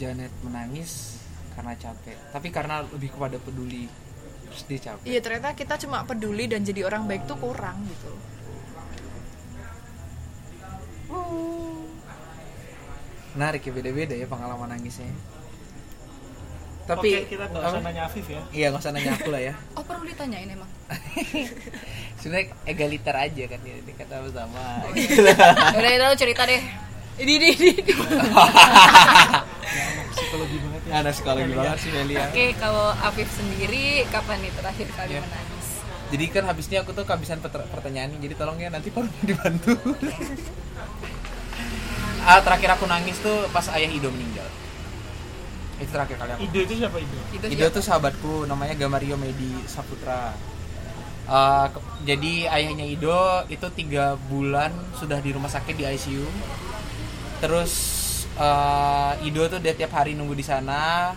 S3: Janet menangis karena capek tapi karena lebih kepada peduli terus dia capek
S2: iya ternyata kita cuma peduli dan jadi orang baik tuh kurang gitu
S3: menarik ya beda-beda ya pengalaman nangisnya
S1: Tapi
S3: tapi
S1: kita nggak usah
S3: apa?
S1: nanya Afif ya.
S3: iya nggak usah nanya aku lah ya
S4: Oh perlu ditanyain emang.
S3: sebenarnya egaliter aja kan ya ini kata sama
S4: Udah udah lu cerita deh.
S2: ini ini, ini.
S1: Psikologi banget ya.
S3: ada sekali banget sih Melia
S4: Oke kalau Afif sendiri kapan nih terakhir kali
S3: Iya.
S4: menangis?
S3: jadi kan habisnya aku tuh kehabisan peter- pertanyaan nih, jadi tolong ya nanti perlu dibantu ah terakhir aku nangis tuh pas ayah Ido meninggal itu terakhir kali aku
S1: Ide itu siapa ide?
S4: Itu
S3: Ido
S4: siapa?
S3: tuh sahabatku namanya Gamario Medi Saputra Uh, ke- jadi ayahnya Ido itu tiga bulan sudah di rumah sakit di ICU terus uh, Ido tuh dia tiap hari nunggu di sana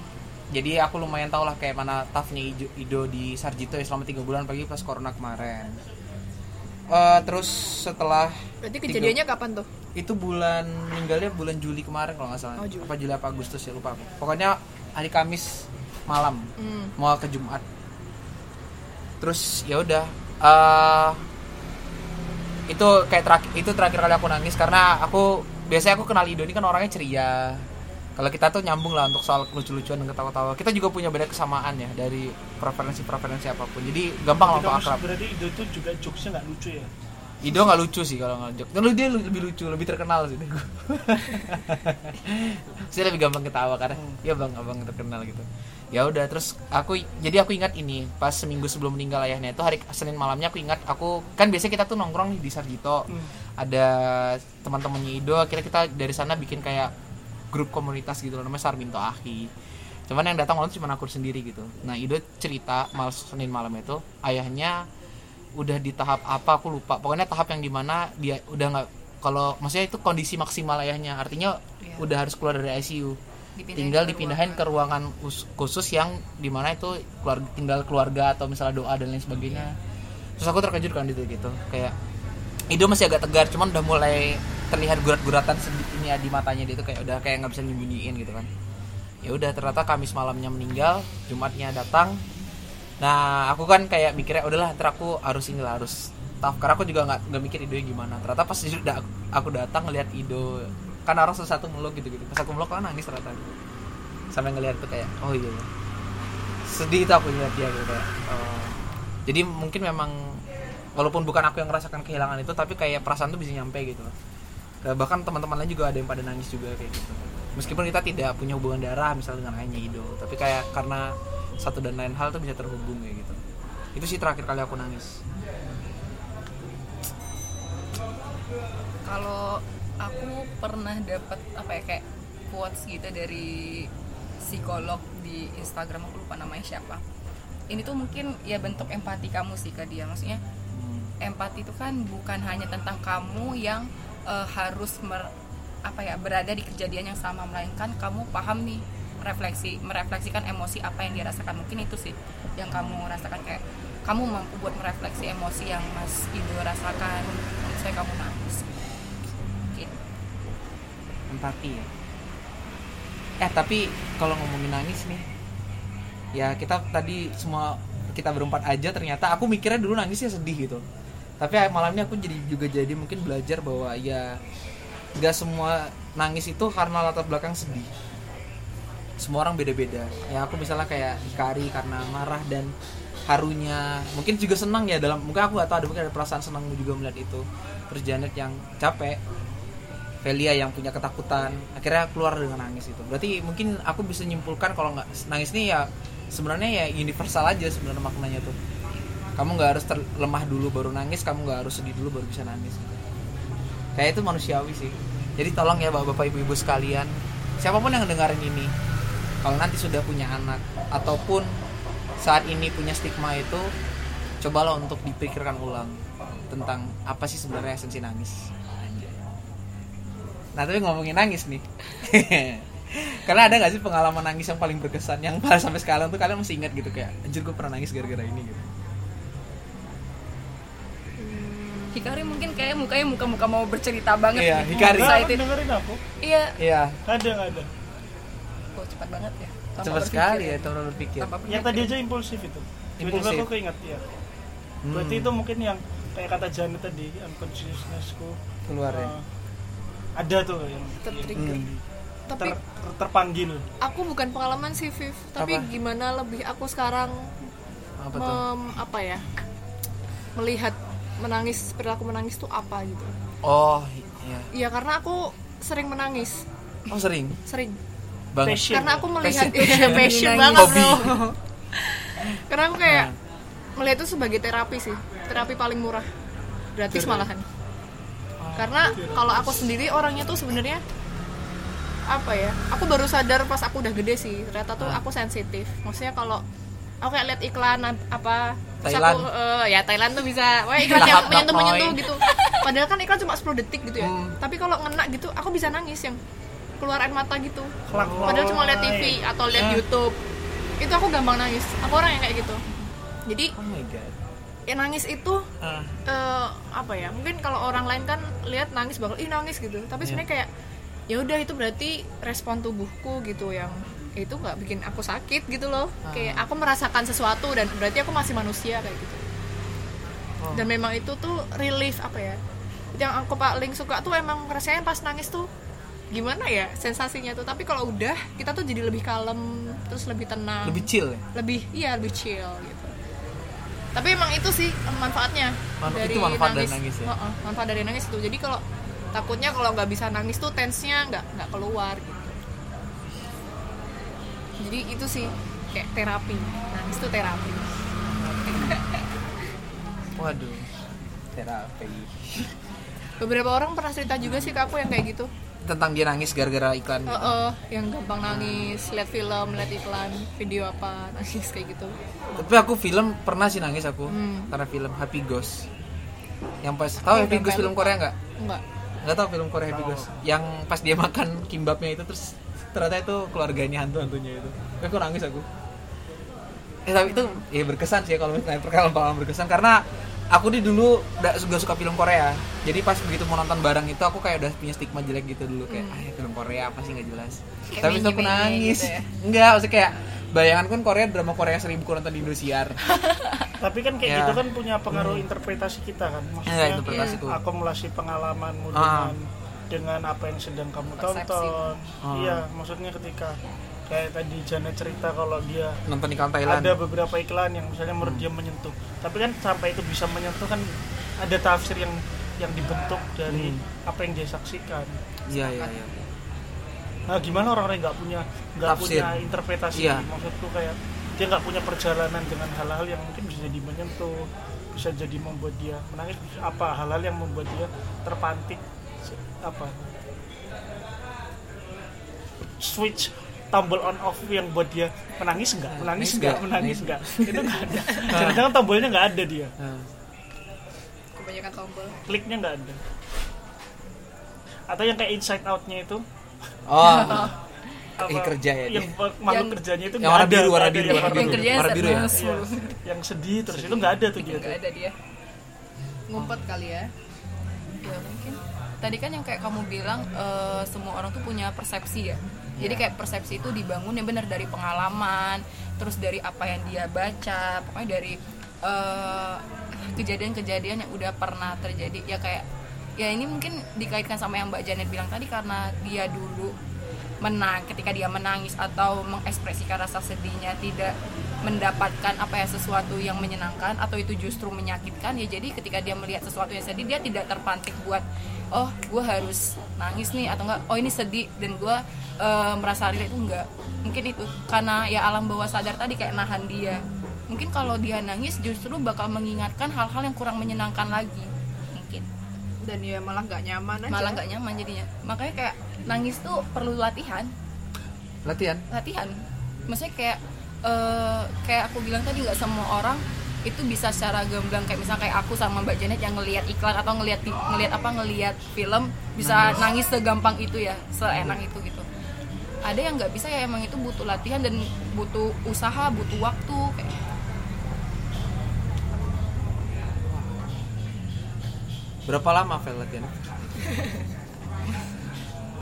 S3: jadi aku lumayan tau lah kayak mana toughnya Ido, Ido di Sarjito ya selama tiga bulan pagi pas corona kemarin Uh, terus setelah
S2: berarti
S3: tiga-
S2: kejadiannya kapan tuh
S3: itu bulan meninggalnya bulan Juli kemarin kalau nggak salah
S2: Oh, Juli.
S3: apa Juli apa Agustus ya lupa aku pokoknya hari Kamis malam
S2: Hmm.
S3: mau ke Jumat terus ya udah eh, itu kayak terakhir itu terakhir kali aku nangis karena aku biasanya aku kenal Ido ini kan orangnya ceria kalau kita tuh nyambung lah untuk soal lucu-lucuan dan ketawa-tawa kita juga punya beda kesamaan ya dari preferensi-preferensi apapun jadi gampang lah
S1: Kita
S3: untuk
S1: harus-
S3: akrab
S1: berarti ide itu juga jokesnya nggak lucu ya.
S3: Ido nggak lucu sih kalau ngajak. Tapi dia lu- lebih lucu, lebih terkenal sih. dari gua. Saya lebih gampang ketawa karena ya bang abang terkenal gitu. Ya udah terus aku jadi aku ingat ini pas seminggu sebelum meninggal ayahnya itu hari Senin malamnya aku ingat aku kan biasanya kita tuh nongkrong nih di Sarjito ada teman-temannya Ido akhirnya kita dari sana bikin kayak grup komunitas gitu loh namanya Sarminto Ahi cuman yang datang malam tuh cuma aku sendiri gitu nah Ido cerita malam Senin malam itu ayahnya udah di tahap apa aku lupa pokoknya tahap yang dimana dia udah nggak kalau maksudnya itu kondisi maksimal ayahnya artinya
S4: Iya.
S3: udah harus keluar dari ICU
S4: Dipindahin
S3: tinggal
S4: ke
S3: dipindahin ke ruangan us- khusus yang dimana itu keluarga, tinggal keluarga atau misalnya doa dan lain sebagainya
S4: Iya.
S3: terus aku terkejut kan gitu gitu kayak Ido masih agak tegar cuman udah mulai terlihat gurat-guratan sedikitnya di matanya dia itu kayak udah kayak nggak bisa nyembunyiin gitu kan ya udah ternyata Kamis malamnya meninggal Jumatnya datang nah aku kan kayak mikirnya udahlah ntar aku harus inilah harus tough karena aku juga nggak nggak mikir Ido gimana ternyata pas Ido da- aku datang ngeliat Ido kan orang satu meluk gitu gitu pas aku meluk kan nangis ternyata gitu. sampai ngeliat tuh kayak oh iya iya. sedih itu aku ngeliat dia gitu kayak oh. jadi mungkin memang walaupun bukan aku yang merasakan kehilangan itu tapi kayak perasaan tuh bisa nyampe gitu loh Ke- bahkan teman-teman lain juga ada yang pada nangis juga kayak gitu meskipun kita tidak punya hubungan darah misalnya dengan hanya Ido tapi kayak karena satu dan lain hal tuh bisa terhubung kayak gitu itu sih terakhir kali aku nangis
S4: Kalau aku pernah dapat apa ya kayak quotes gitu dari psikolog di Instagram aku lupa namanya siapa. Ini tuh mungkin ya bentuk empati kamu sih ke dia maksudnya
S3: Hmm.
S4: empati itu kan bukan hanya tentang kamu yang eh, harus mer- apa ya berada di kejadian yang sama melainkan kamu paham nih refleksi merefleksikan emosi apa yang dia rasakan mungkin itu sih yang kamu rasakan kayak kamu mampu buat merefleksi emosi yang Mas Ido rasakan saya kamu nangis Gitu.
S3: empati ya eh tapi kalau ngomongin nangis nih ya kita tadi semua kita berempat aja ternyata aku mikirnya dulu nangisnya sedih gitu tapi malamnya aku jadi juga jadi mungkin belajar bahwa ya nggak semua nangis itu karena latar belakang sedih semua orang beda-beda ya aku misalnya kayak Kari karena marah dan harunya mungkin juga senang ya dalam mungkin aku gak tahu ada mungkin ada perasaan senang juga melihat itu terus Janet yang capek Velia yang punya ketakutan akhirnya keluar dengan nangis itu berarti mungkin aku bisa nyimpulkan kalau nggak nangis ini ya sebenarnya ya universal aja sebenarnya maknanya tuh kamu nggak harus ter- lemah dulu baru nangis kamu nggak harus sedih dulu baru bisa nangis kayak itu manusiawi sih jadi tolong ya bapak-bapak ibu-ibu sekalian siapapun yang dengerin ini kalau nanti sudah punya anak ataupun saat ini punya stigma itu cobalah untuk dipikirkan ulang tentang apa sih sebenarnya esensi nangis nah tapi ngomongin nangis nih karena ada nggak sih pengalaman nangis yang paling berkesan yang paling sampai sekarang tuh kalian masih ingat gitu kayak anjir gue pernah nangis gara-gara ini gitu
S4: Hikari mungkin kayak mukanya muka-muka mau bercerita banget
S3: Iya,
S4: gitu.
S3: Hikari.
S1: Enggak,
S4: Excited.
S1: dengerin aku.
S4: Iya
S3: iya
S1: Ada, nggak ada.
S4: Kok cepat banget ya Tanpa
S3: cepat
S4: berpikir
S3: sekali ya teman berpikir
S4: Tanpa berpikir.
S1: Yang tadi aja impulsif itu. Tiba-tiba
S3: Impulsif.
S1: aku keinget ya.
S3: Hmm,
S1: Berarti itu mungkin yang kayak kata Janet tadi, unconsciousnessku
S3: keluar ya
S1: eh, ada tuh yang
S2: Tertrigger.
S1: yang-
S2: Tapi
S1: ter- ter- terpanggil.
S2: aku bukan pengalaman sih Viv, tapi
S3: Apa?
S2: gimana lebih aku sekarang
S3: apa tuh
S2: mem- apa ya? Melihat menangis perilaku menangis tuh apa gitu.
S3: oh iya
S2: Iya, karena aku sering menangis,
S3: oh sering
S2: sering.
S3: banget
S1: Passion.
S2: Karena aku melihat
S4: Passion.
S2: Iya, passion
S4: Menangis.
S2: banget
S3: Hobi.
S2: bro. karena aku kayak
S3: Hmm,
S2: melihat itu sebagai terapi sih, terapi paling murah, gratis malahan. Karena kalau aku sendiri orangnya tuh sebenarnya apa ya? Aku baru sadar pas aku udah gede sih. Ternyata tuh
S3: Hmm.
S2: aku sensitif. Maksudnya kalau aku kayak lihat iklan ap- apa terus
S3: Thailand.
S2: aku, eh, ya Thailand tuh bisa. Wah, iklan yang
S3: Lahap
S2: menyentuh menyentuh
S3: dapoy.
S2: gitu. Padahal kan iklan cuma 10 detik gitu ya.
S3: Hmm.
S2: Tapi kalau ngena gitu, aku bisa nangis yang keluar air mata gitu.
S1: Kelak-
S2: Padahal
S3: Oh.
S2: cuma lihat TV atau lihat
S3: Ah.
S2: YouTube. Itu aku gampang nangis. Aku orang yang kayak gitu. Jadi,
S3: oh my god
S2: ya nangis itu
S3: Ah,
S2: eh apa ya mungkin kalau orang lain kan lihat nangis bakal ih nangis gitu tapi
S3: Iya.
S2: sebenarnya kayak ya udah itu berarti respon tubuhku gitu yang itu nggak bikin aku sakit gitu loh
S3: Ah.
S2: kayak aku merasakan sesuatu dan berarti aku masih manusia kayak gitu
S3: Oh.
S2: dan memang itu tuh relief apa ya yang aku paling suka tuh emang rasanya pas nangis tuh gimana ya sensasinya tuh tapi kalau udah kita tuh jadi lebih kalem terus lebih tenang
S3: lebih chill ya
S2: lebih iya lebih chill gitu tapi emang itu sih em, manfaatnya
S3: Man- itu manfaat dari nangis ya?
S2: Heeh, manfaat dari nangis itu jadi kalau takutnya kalau nggak bisa nangis tuh tense-nya nggak nggak keluar gitu jadi itu sih kayak terapi nangis tuh terapi
S3: waduh terapi
S2: beberapa orang pernah cerita juga sih ke aku yang kayak gitu
S3: tentang dia nangis gara-gara iklan
S2: Heeh, yang gampang nangis lihat film lihat iklan video apa nangis kayak gitu
S3: tapi aku film pernah sih nangis aku
S2: Hmm.
S3: karena film Happy Ghost yang pas tahu Happy
S2: udah
S3: Ghost film
S2: lupa.
S3: Korea nggak
S2: enggak
S3: nggak tahu film Korea Happy
S1: Tahu.
S3: Ghost yang pas dia makan kimbabnya itu terus ternyata itu keluarganya hantu hantunya itu tapi aku nangis aku eh tapi itu ya berkesan sih kalau misalnya perkara pengalaman berkesan karena aku nih dulu udah juga suka film Korea jadi pas begitu mau nonton barang itu aku kayak udah punya stigma jelek gitu dulu kayak ah film Korea apa sih nggak jelas
S4: Kayak
S3: tapi itu aku
S4: menye-menye
S3: nangis
S4: gitu ya.
S3: enggak maksudnya kayak bayangan kan Korea drama Korea seribu ku nonton di Indosiar
S1: Tapi kan kayak
S3: Ya.
S1: gitu kan punya pengaruh interpretasi kita kan.
S3: Ya,
S1: Maksudnya
S3: interpretasiku.
S1: akumulasi pengalamanmu
S3: Ah.
S1: dengan dengan apa yang sedang kamu
S4: Persepsi.
S1: tonton.
S3: Ah.
S1: Iya, maksudnya ketika kayak tadi Janet cerita kalau dia
S3: nonton iklan Thailand
S1: ada beberapa iklan yang misalnya menurut dia menyentuh. Tapi kan sampai itu bisa menyentuh kan ada tafsir yang yang dibentuk dari apa yang dia saksikan.
S3: iya iya iya
S1: Nah, gimana orang-orang yang nggak punya nggak
S3: Tafsir.
S1: punya interpretasi?
S3: Iya.
S1: Maksudku kayak dia nggak punya perjalanan dengan hal-hal yang mungkin bisa jadi menyentuh, bisa jadi membuat dia menangis, bisa apa hal-hal yang membuat dia terpantik se- apa switch tombol on off yang buat dia menangis nggak Nah, menangis nggak menangis nggak itu nggak ada jangan-jangan tombolnya nggak ada dia
S3: Nah.
S2: kebanyakan tombol
S1: kliknya nggak ada atau yang kayak inside outnya itu
S3: oh
S1: apa,
S3: Yang kerja ya
S1: yang
S3: dia.
S1: ma- makhluk
S4: Yang-
S1: kerjanya itu
S3: yang
S1: nggak
S3: warna
S1: ada,
S3: biru
S1: nggak
S3: warna
S1: ada
S3: biru
S1: yang
S3: warna
S1: warna
S3: biru
S4: Yang kerjanya
S3: warna biru ya
S4: sadness.
S1: Iya, yang sedih terus itu nggak ada tuh dia
S4: Gak
S1: tuh.
S4: ada dia Ngumpet kali ya Ya mungkin Tadi kan yang kayak kamu bilang eh, Semua orang tuh punya persepsi ya Jadi kayak persepsi itu dibangun yang benar dari pengalaman Terus dari apa yang dia baca Pokoknya dari eh, kejadian-kejadian yang udah pernah terjadi Ya kayak ya ini mungkin dikaitkan sama yang Mbak Janet bilang tadi karena dia dulu menang ketika dia menangis atau mengekspresikan rasa sedihnya tidak mendapatkan apa ya sesuatu yang menyenangkan atau itu justru menyakitkan ya jadi ketika dia melihat sesuatu yang sedih dia tidak terpantik buat oh gue harus nangis nih atau enggak oh ini sedih dan gue eh, merasa relate itu enggak mungkin itu karena ya alam bawah sadar tadi kayak nahan dia mungkin kalau dia nangis justru bakal mengingatkan hal-hal yang kurang menyenangkan lagi mungkin
S2: dan ya malah nggak nyaman aja
S4: malah nggak nyaman jadinya makanya kayak nangis tuh perlu latihan
S3: latihan
S4: latihan maksudnya kayak eh, kayak aku bilang tadi nggak semua orang itu bisa secara gamblang kayak misalnya kayak aku sama Mbak Janet yang ngelihat iklan atau ngelihat di- ngelihat apa ngelihat film bisa nangis. segampang itu ya seenak itu gitu ada yang nggak bisa ya emang itu butuh latihan dan butuh usaha butuh waktu kayak
S3: berapa lama Vel latihan
S4: ini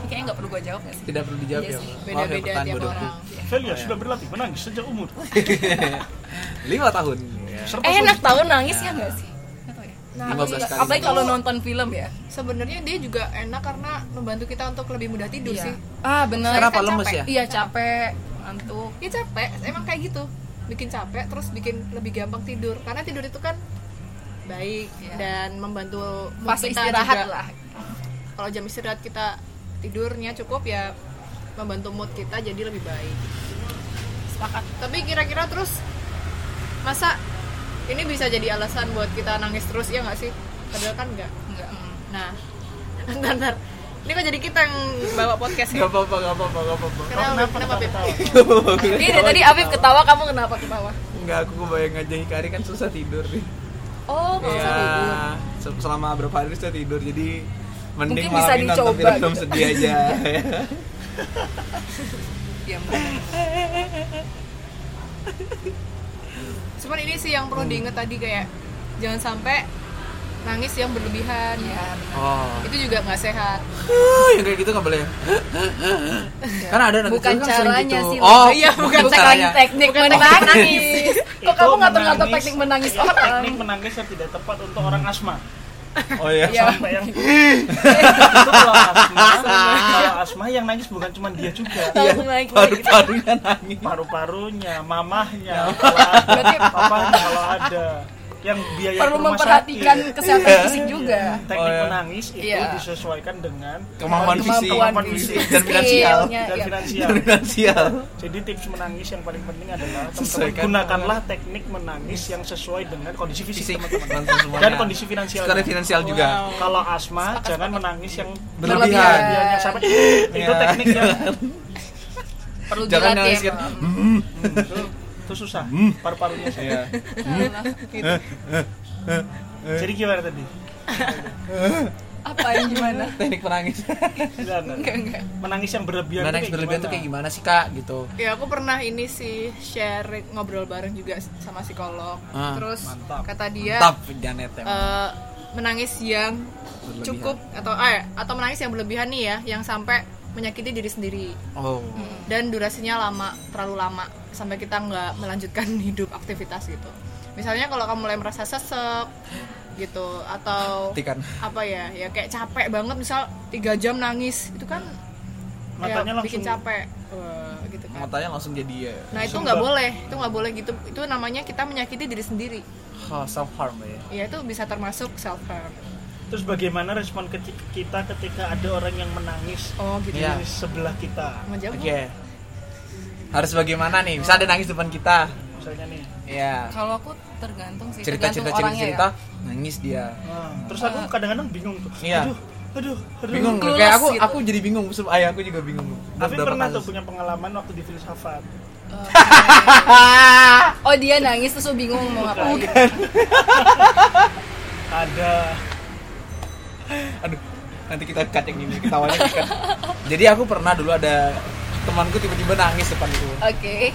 S4: kayaknya nggak perlu gue jawab nggak sih
S3: tidak perlu dijawab
S4: Iya
S3: ya
S4: sih,
S3: Vel. Maaf ya,
S2: beda-beda
S3: pertanyaan
S2: tiap
S3: bodohku.
S2: orang
S1: Velia ya sudah berlatih menangis sejak umur
S3: lima tahun ya.
S1: Serba
S4: eh, enak
S1: sulit.
S4: tahu nangis ya nggak sih Nggak tahu ya.
S2: nah
S3: 15
S2: terus-
S3: kali.
S4: apalagi kalau nonton film ya
S2: sebenarnya dia juga enak karena membantu kita untuk lebih mudah tidur
S4: Iya.
S2: sih
S4: ah benar
S3: Kenapa,
S2: Kan
S3: lemes
S2: capek.
S3: ya?
S4: iya capek ngantuk
S2: ya capek emang kayak gitu bikin capek terus bikin lebih gampang tidur karena tidur itu kan baik
S4: Iya.
S2: dan membantu mood
S4: fase
S2: kita
S4: istirahat
S2: juga.
S4: lah
S2: kalau jam istirahat kita tidurnya cukup ya membantu mood kita jadi lebih baik
S4: sepakat
S2: tapi kira-kira terus masa ini bisa jadi alasan buat kita nangis terus ya nggak sih padahal kan nggak
S4: enggak mm.
S2: nah ntar ntar ini kok jadi kita yang bawa podcast ya
S3: Gak apa-apa, gak apa-apa, gak apa-apa
S2: kenapa kenapa Beb?
S4: Iya, dari tadi Afif ketawa, kamu kenapa ketawa?
S3: Enggak, aku kebayang aja Hikari kan susah tidur nih
S4: Oh, kamu
S3: Iya, se- selama berapa hari susah tidur Jadi mending
S4: Mungkin bisa
S3: malam ini nonton
S4: dicoba
S3: film
S4: gitu.
S3: sedih aja
S4: Iya, bener.
S2: cuman ini sih yang perlu diingat tadi kayak jangan sampai nangis yang berlebihan
S4: Iya,
S3: Oh,
S2: itu juga nggak sehat
S3: yang kayak gitu gak boleh Karena ada
S4: bener.
S3: negeri
S4: Bukan
S3: kan sering
S4: caranya
S3: gitu.
S4: sih.
S3: Oh,
S4: Iya, bukan
S3: bukan
S4: caranya.
S3: caranya.
S4: teknik menangis. Kok
S1: Itu
S4: kamu ngatur-ngatur
S1: menangis-
S4: teknik menangis
S1: ya,
S4: orang?
S3: Iya,
S1: teknik menangis yang tidak tepat untuk orang asma
S3: Oh iya
S4: Iya.
S1: sampai yang itu kalau asma kalau asma yang nangis bukan cuma dia juga
S4: Langsung naik lagi.
S3: Paru-parunya nangis
S1: paru-parunya, mamahnya, kalau ada,
S4: Berarti-
S1: papanya kalau ada, yang
S3: iya,
S1: biaya ke
S4: Perlu
S1: rumah
S4: memperhatikan
S1: sakit.
S4: kesehatan fisik juga.
S1: teknik
S3: Oh, iya.
S1: menangis itu
S4: Iya.
S1: disesuaikan dengan
S3: Kemampuan fisik
S1: kemampuan fisik
S3: dan finansial
S4: Skillnya,
S1: dan
S4: iya.
S1: finansial.
S3: Dan finansial
S1: Jadi tips menangis yang paling penting adalah teman-teman
S3: Sesuaikan.
S1: gunakanlah teknik menangis yang sesuai dengan kondisi fisik
S3: Fisik
S1: teman-teman
S3: teman-teman semuanya
S1: dan kondisi finansial.
S3: Sekarang finansial juga
S1: Kalau asma jangan menangis yang
S3: Berlebihan.
S1: dia yang sampai "Eh, itu
S3: Iya.
S1: teknik yang
S4: Perlu
S3: Jangan
S4: dilatih
S3: nangis kan
S4: emang.
S3: "Hmm,
S1: itu, itu susah paru-parunya saya.
S3: Iya.
S4: Salah. Gitu.
S1: Jadi gimana tadi?
S4: Apa yang gimana?
S3: Teknik menangis
S1: Gimana?
S4: Enggak, enggak.
S1: Menangis yang berlebihan itu
S3: Menangis
S1: kayak
S3: berlebihan tuh kayak gimana sih kak gitu
S2: ya aku pernah ini sih share ngobrol bareng juga sama psikolog
S3: Ah,
S2: terus
S1: mantap.
S2: kata
S4: Iya.
S2: dia
S3: Mantap Janet emang.
S2: eh, menangis yang
S3: Berlebihan.
S2: cukup atau eh, atau menangis yang berlebihan nih ya yang sampai menyakiti diri sendiri
S3: Oh
S2: dan durasinya lama terlalu lama sampai kita nggak melanjutkan hidup aktivitas gitu misalnya kalau kamu mulai merasa sesek gitu atau
S3: Berarti kan
S2: apa ya ya kayak capek banget misal tiga jam nangis itu kan ya,
S4: Iya,
S1: Matanya
S2: bikin
S1: langsung-
S2: capek Wah, gitu kan
S3: matanya langsung jadi ya
S2: nah itu
S1: Langsung
S2: nggak
S1: bak-
S2: boleh itu nggak boleh gitu itu namanya kita menyakiti diri sendiri
S3: self harm ya
S2: ya itu bisa termasuk self harm
S1: Terus bagaimana respon keti- kita ketika ada orang yang menangis
S2: oh gitu
S3: Iya.
S1: di sebelah kita?
S2: menjawab
S3: Oke Harus bagaimana nih? Bisa ada nangis depan kita
S1: Misalnya nih.
S3: Iya
S4: Kalau aku tergantung sih,
S3: Cerita-cerita
S4: tergantung orangnya
S3: cerita-cerita
S4: ya.
S3: Nangis dia
S1: Nah, terus aku kadang-kadang bingung tuh.
S3: Ah. Iya.
S1: Aduh, aduh, aduh.
S3: bingung
S4: Gelas
S3: kayak aku
S4: gitu.
S3: aku jadi bingung Seb- ayah aku juga bingung
S1: Tapi
S3: Beberapa
S1: pernah tuh
S3: kasus.
S1: punya pengalaman waktu di filsafat.
S3: Ah,
S4: Oh, dia nangis terus lu bingung mau ngapain.
S1: Ada
S3: aduh nanti kita cut yang ini ketawanya di cut. jadi aku pernah dulu ada temanku tiba-tiba nangis depanku
S4: Oke.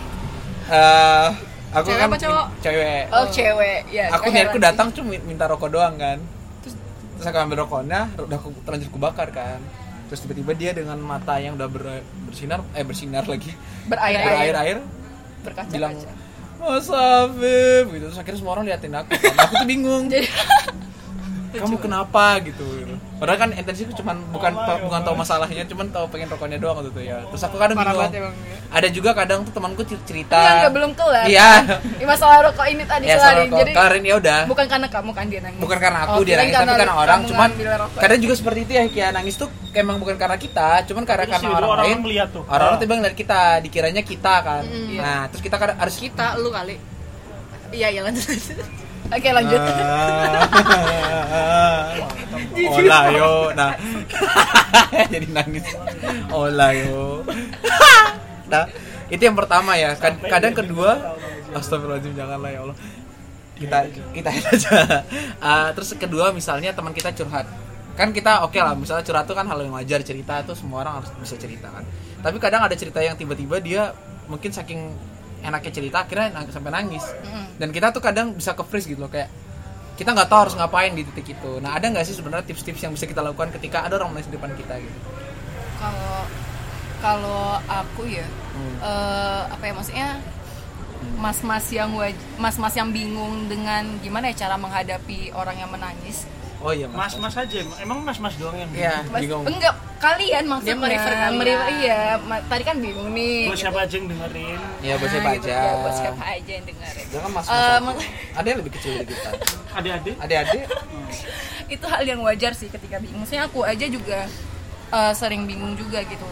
S3: Eh, aku
S2: Cewek
S3: kan
S2: apa cowok?
S3: cewek
S4: Oh, cewek. Ya,
S3: aku
S4: heran
S3: niatku
S4: sih.
S3: datang cuma minta rokok doang kan terus, terus aku ambil rokoknya udah aku terlanjur kubakar kan terus tiba-tiba dia dengan mata yang udah ber- bersinar eh bersinar lagi
S4: berair-air,
S3: berair-air
S4: berkaca
S3: bilang Mas Afif gitu kan. terus akhirnya semua orang liatin aku Karena aku tuh bingung
S4: Jadi-
S3: kamu kenapa gitu, gitu. Padahal kan intensiku cuman bukan
S1: Alay,
S3: bukan tahu masalahnya, cuman tahu pengen rokoknya doang waktu itu ya. Terus aku kadang
S2: Parah banget ya
S3: bingung.
S2: bang ya.
S3: Ada juga kadang tuh temanku cer- cerita.
S4: Enggak, enggak, belum kelar.
S3: Iya.
S4: Ini masalah rokok ini tadi
S3: Ya
S4: kelar.
S3: soal rokok.
S4: Jadi
S3: Karin ya udah.
S4: bukan karena kamu kan dia nangis.
S3: bukan karena aku
S4: Oh,
S3: dia
S4: kirain
S3: nangis tapi karena orang
S4: kamu
S3: cuman
S4: ngambil rokok.
S3: kadang juga seperti itu ya Kia nangis tuh emang bukan karena kita cuman karena
S1: Terus
S3: karena
S1: yaudah,
S3: orang, lain
S1: orang-orang melihat tuh. Ah.
S3: orang-orang
S4: Oh.
S3: tiba ngeliat kita dikiranya kita kan
S4: Hmm.
S3: nah terus kita kadang harus
S2: kita lu kali iya iya lanjut lanjut
S4: Oke, lanjut.
S3: Ah. Ola yo nah jadi nangis Ola yo nah itu yang pertama ya Kad- kadang kedua Astagfirullahaladzim janganlah ya Allah kita kita aja Ah, terus kedua misalnya teman kita curhat kan kita oke lah misalnya curhat tuh kan hal yang wajar cerita tuh semua orang harus bisa cerita kan tapi kadang ada cerita yang tiba-tiba dia mungkin saking enaknya cerita akhirnya nang- sampai nangis dan kita tuh kadang bisa ke freeze gitu loh kayak kita nggak tahu harus ngapain di titik itu nah ada nggak sih sebenarnya tips-tips yang bisa kita lakukan ketika ada orang menangis di depan kita gitu
S4: Kalau kalau aku ya
S3: Hmm.
S4: eh, apa ya maksudnya mas-mas yang waj- mas-mas yang bingung dengan gimana ya cara menghadapi orang yang menangis.
S3: oh iya mas
S1: Mas-mas aja, emang mas-mas doang yang
S3: iya
S4: Mas-
S3: bingung
S4: enggak kalian maksudnya
S2: Dia merefer kalian.
S4: Merefer, iya, ma- tadi kan bingung nih.
S1: Buat siapa aja yang dengerin
S3: ya buat siapa
S4: Nah, gitu,
S3: aja
S4: ya, buat siapa aja yang dengerin.
S3: jangan mas
S4: Eh,
S3: mas
S4: mak-
S3: ada yang lebih kecil dari kita
S1: Adik-adik
S3: adik-adik
S4: itu hal yang wajar sih ketika bingung. Maksudnya aku aja juga eh, sering bingung juga gitu.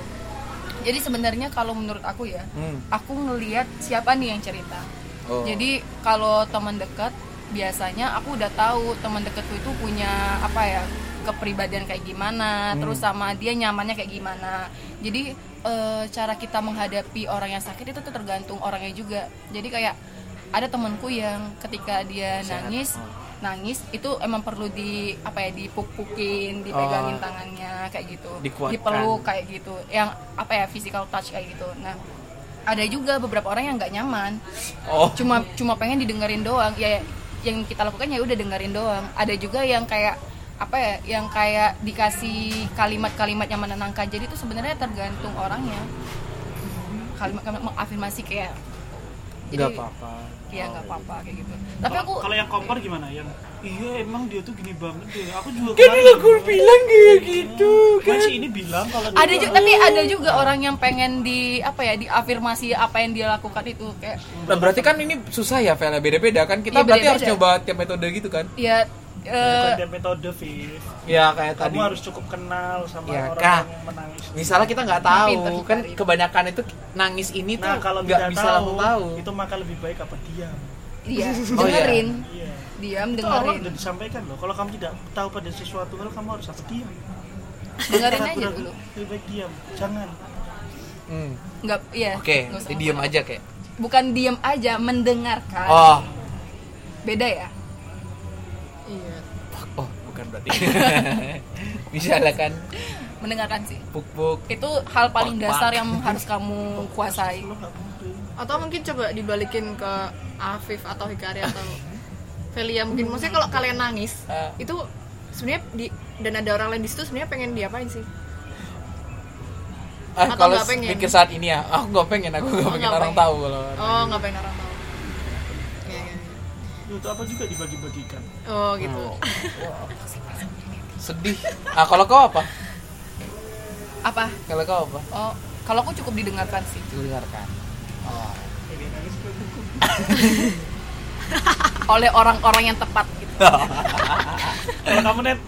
S4: Jadi sebenarnya kalau menurut aku ya,
S3: Hmm.
S4: aku ngelihat siapa nih yang cerita.
S3: Oh.
S4: Jadi kalau teman dekat biasanya aku udah tahu teman dekatku itu punya apa ya kepribadian kayak
S3: Hmm.
S4: gimana, terus sama dia nyamannya kayak gimana. Jadi eh, cara kita menghadapi orang yang sakit itu tuh tergantung orangnya juga. Jadi kayak ada temanku yang ketika dia nangis,
S3: Oh.
S4: nangis itu emang perlu di apa ya dipuk-pukin, dipegangin
S3: Oh.
S4: tangannya kayak gitu,
S3: Dikuatkan.
S4: dipeluk kayak gitu. Yang apa ya physical touch kayak gitu. Nah, ada juga beberapa orang yang nggak nyaman
S3: oh
S4: cuma cuma pengen didengerin doang ya yang kita lakukan ya udah dengerin doang ada juga yang kayak apa ya yang kayak dikasih kalimat-kalimat yang menenangkan jadi itu sebenarnya tergantung orangnya kalimat kalimat mengafirmasi kayak
S3: nggak apa-apa
S4: ya nggak apa-apa kayak gitu tapi aku
S1: Kalau yang kompor gimana? Yang iya emang dia tuh gini banget deh. Aku juga
S3: kan
S1: kemarin
S3: lo gue
S1: gitu.
S3: bilang kayak gitu
S1: Kan si ini bilang kalau dia
S4: ada juga tapi ada juga orang yang pengen di apa ya diafirmasi apa yang dia lakukan itu kayak
S3: nah berarti kan ini susah ya Vel beda-beda kan kita
S4: Iya,
S3: berarti
S4: beda-beda.
S3: harus coba tiap metode gitu kan
S4: ya eh,
S1: bukan dia metode Viv.
S3: ya kayak
S1: Kamu
S3: tadi
S1: harus cukup kenal sama
S3: Ya,
S1: orang
S3: Kak.
S1: yang menangis.
S3: misalnya kita nggak tahu
S4: Pinter kita,
S3: kan
S4: Rif.
S3: kebanyakan itu nangis ini tuh
S1: Nah, kalau
S3: nggak
S1: tidak
S3: bisa
S1: tahu,
S3: langsung tahu
S1: itu maka lebih baik apa diam.
S4: dia
S3: Oh, iya.
S4: dengerin
S1: Iya.
S4: diam
S1: Itu Allah
S4: dengerin
S1: udah disampaikan loh. Kalau kamu tidak tahu pada sesuatu hal, kamu harus apa diam.
S4: dengerin
S1: Karena
S4: aja
S1: kurang-
S4: dulu
S1: Lebih baik diam. Jangan.
S3: Hmm.
S4: nggak iya
S3: oke
S4: nggak usah
S3: jadi diem
S4: ngomong.
S3: aja kayak
S4: bukan diem aja mendengarkan
S3: oh
S4: beda ya
S2: iya
S3: oh bukan berarti bisa lah kan
S4: mendengarkan sih
S3: puk puk
S4: itu hal paling
S3: Pak,
S4: dasar
S3: pak.
S4: yang harus kamu kuasai
S1: Lo nggak butuh.
S2: atau mungkin coba dibalikin ke Afif atau Hikari atau Velia mungkin maksudnya kalau kalian nangis
S3: Ah.
S2: itu sebenarnya di dan ada orang lain di situ sebenarnya pengen diapain sih
S3: ah
S2: Atau
S3: kalau
S2: nggak pengen?
S3: pikir saat ini ya aku nggak pengen aku nggak
S2: Oh,
S3: pengen
S2: nggak
S3: orang
S2: pengen.
S3: tahu kalau
S2: oh nggak pengen orang tahu ya, ya, ya.
S1: Itu apa juga dibagi-bagikan.
S2: oh gitu
S3: Hmm. sedih ah kalau kau apa
S4: apa
S3: kalau kau apa
S4: oh kalau aku cukup didengarkan sih
S3: dengarkan oh
S4: oleh orang-orang yang tepat gitu
S1: Kalau kamu net,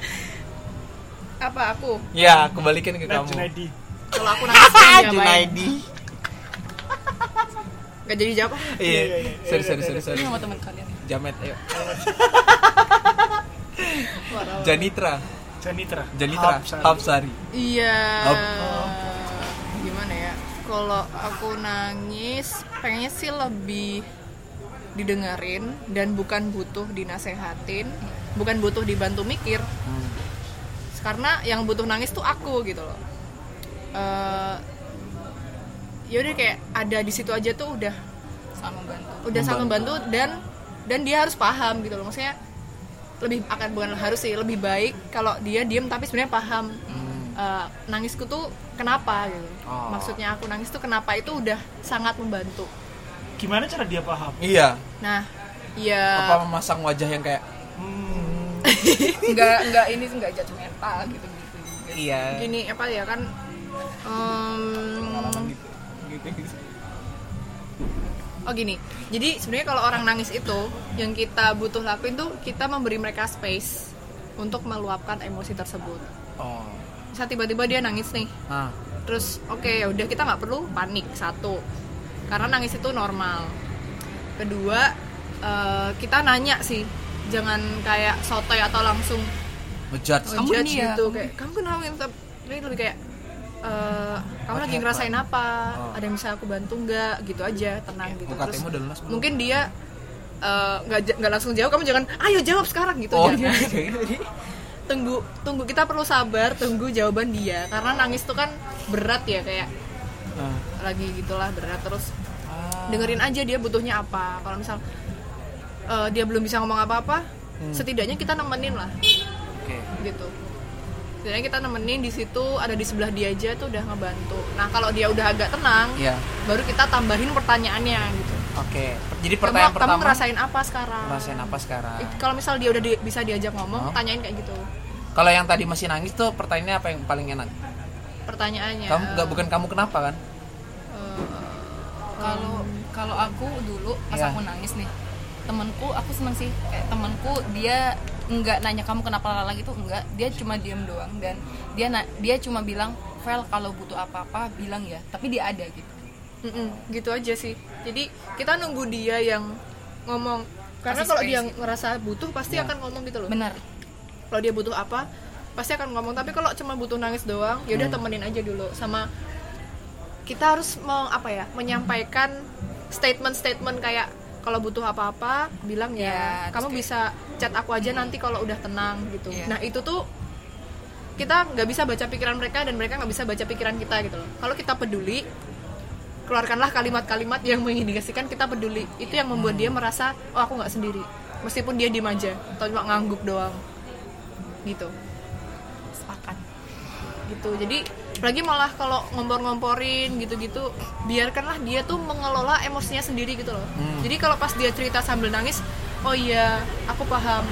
S2: apa aku
S3: ya kembalikan ke
S1: net
S3: kamu Iya.
S1: Junaidi.
S2: kalau aku nangis pengen diapain
S3: Junaidi
S2: nggak jadi jawab ah.
S3: iya
S1: iya, iya.
S3: sorry sorry sorry sorry
S4: ini sama teman kalian
S3: jamet ayo
S2: Parah.
S3: Janitra
S1: Janitra.
S3: Janitra
S1: Hapsari.
S3: Hapsari
S2: Iya.
S4: Ah.
S3: Hap.
S2: Gimana ya? Kalau aku nangis, pengennya sih lebih didengerin dan bukan butuh dinasehatin, bukan butuh dibantu mikir. Karena yang butuh nangis tuh aku gitu loh. Eh ya udah kayak ada di situ aja tuh udah
S4: sama membantu
S2: udah sangat membantu dan dan dia harus paham gitu loh maksudnya lebih akan bukan harus sih lebih baik kalau dia diem tapi sebenarnya paham Eh, nangisku tuh kenapa gitu
S3: Hmm. Oh.
S2: maksudnya aku nangis tuh kenapa itu udah sangat membantu
S1: Gimana cara dia paham?
S3: iya
S2: nah ya
S3: apa memasang wajah yang kayak
S1: Hmm,
S4: nggak nggak ini nggak jatuh mental gitu
S3: iya
S2: gini apa ya kan em,
S3: pengalaman gitu gitu
S2: Oh gini, jadi sebenarnya kalau orang nangis itu yang kita butuh lakuin tuh kita memberi mereka space untuk meluapkan emosi tersebut.
S3: oh
S2: Misal tiba-tiba dia nangis nih,
S3: ah
S2: terus oke ya udah kita nggak perlu panik satu, karena nangis itu normal. Kedua eh, kita nanya sih, jangan kayak sotoy atau langsung
S3: ngejudge
S4: Kamu
S2: kamu
S4: ini ya,
S2: gitu
S4: kamu-
S2: kayak kamu kenapa gitu tapi lebih kayak eh, kamu
S3: What
S2: lagi ngerasain apa
S3: Oh.
S2: ada yang bisa aku bantu nggak gitu aja tenang gitu
S3: UKT-mu udah lunas belum?
S2: mungkin dia eh, nggak ja- nggak langsung jawab kamu jangan ayo jawab sekarang gitu
S3: oh iya
S2: jangan
S3: iya, iya.
S2: tunggu tunggu kita perlu sabar tunggu jawaban dia karena nangis tuh kan berat ya kayak
S3: Ah.
S2: lagi gitulah berat terus
S3: Ah.
S2: dengerin aja dia butuhnya apa kalau misal eh, dia belum bisa ngomong apa-apa
S3: Hmm.
S2: setidaknya kita nemenin lah
S3: oke
S2: gitu Sebenarnya kita nemenin di situ ada di sebelah dia aja tuh udah ngebantu. Nah kalau dia udah agak tenang,
S3: Iya.
S2: baru kita tambahin pertanyaannya gitu.
S3: oke jadi
S2: Kamu-
S3: pertanyaan
S2: kamu, Iya.
S3: pertama
S2: ngerasain apa sekarang?
S3: ngerasain apa sekarang
S2: It- Kalau misal dia udah di- bisa diajak ngomong,
S3: Oh.
S2: tanyain kayak gitu
S3: kalau yang tadi masih nangis tuh pertanyaannya apa yang paling enak
S2: Iya. pertanyaannya.
S3: kamu nggak bukan kamu kenapa kan
S4: kalau kalau aku dulu pas
S3: Iya.
S4: aku nangis nih temanku aku seneng sih kayak temanku dia nggak nanya kamu kenapa lagi tuh enggak dia cuma diam doang dan dia na- dia cuma bilang Vel kalau butuh apa-apa bilang ya tapi dia ada gitu
S2: Mm-mm, gitu aja sih. Jadi kita nunggu dia yang ngomong. Karena
S4: Kasih
S2: kalau
S4: space
S2: dia
S4: gitu.
S2: ngerasa butuh pasti
S3: Iya.
S2: akan ngomong gitu loh.
S4: benar
S2: Kalau dia butuh apa pasti akan ngomong. Tapi kalau cuma butuh nangis doang, ya
S4: Hmm.
S2: udah temenin aja dulu sama kita harus meng, apa ya menyampaikan statement-statement kayak kalau butuh apa-apa bilang ya.
S4: Ya, terus
S2: kamu
S4: kayak-
S2: bisa chat aku aja nanti kalau udah tenang gitu.
S4: Iya.
S2: Nah itu tuh kita nggak bisa baca pikiran mereka dan mereka nggak bisa baca pikiran kita gitu loh. Kalau kita peduli, keluarkanlah kalimat-kalimat yang mengindikasikan kita peduli. Itu yang membuat dia merasa oh aku nggak sendiri. Meskipun dia diem aja atau cuma ngangguk doang gitu
S4: sepakat
S2: gitu jadi lagi malah kalau ngompor-ngomporin gitu-gitu biarkanlah dia tuh mengelola emosinya sendiri gitu loh
S3: Hmm.
S2: jadi kalau pas dia cerita sambil nangis oh iya aku paham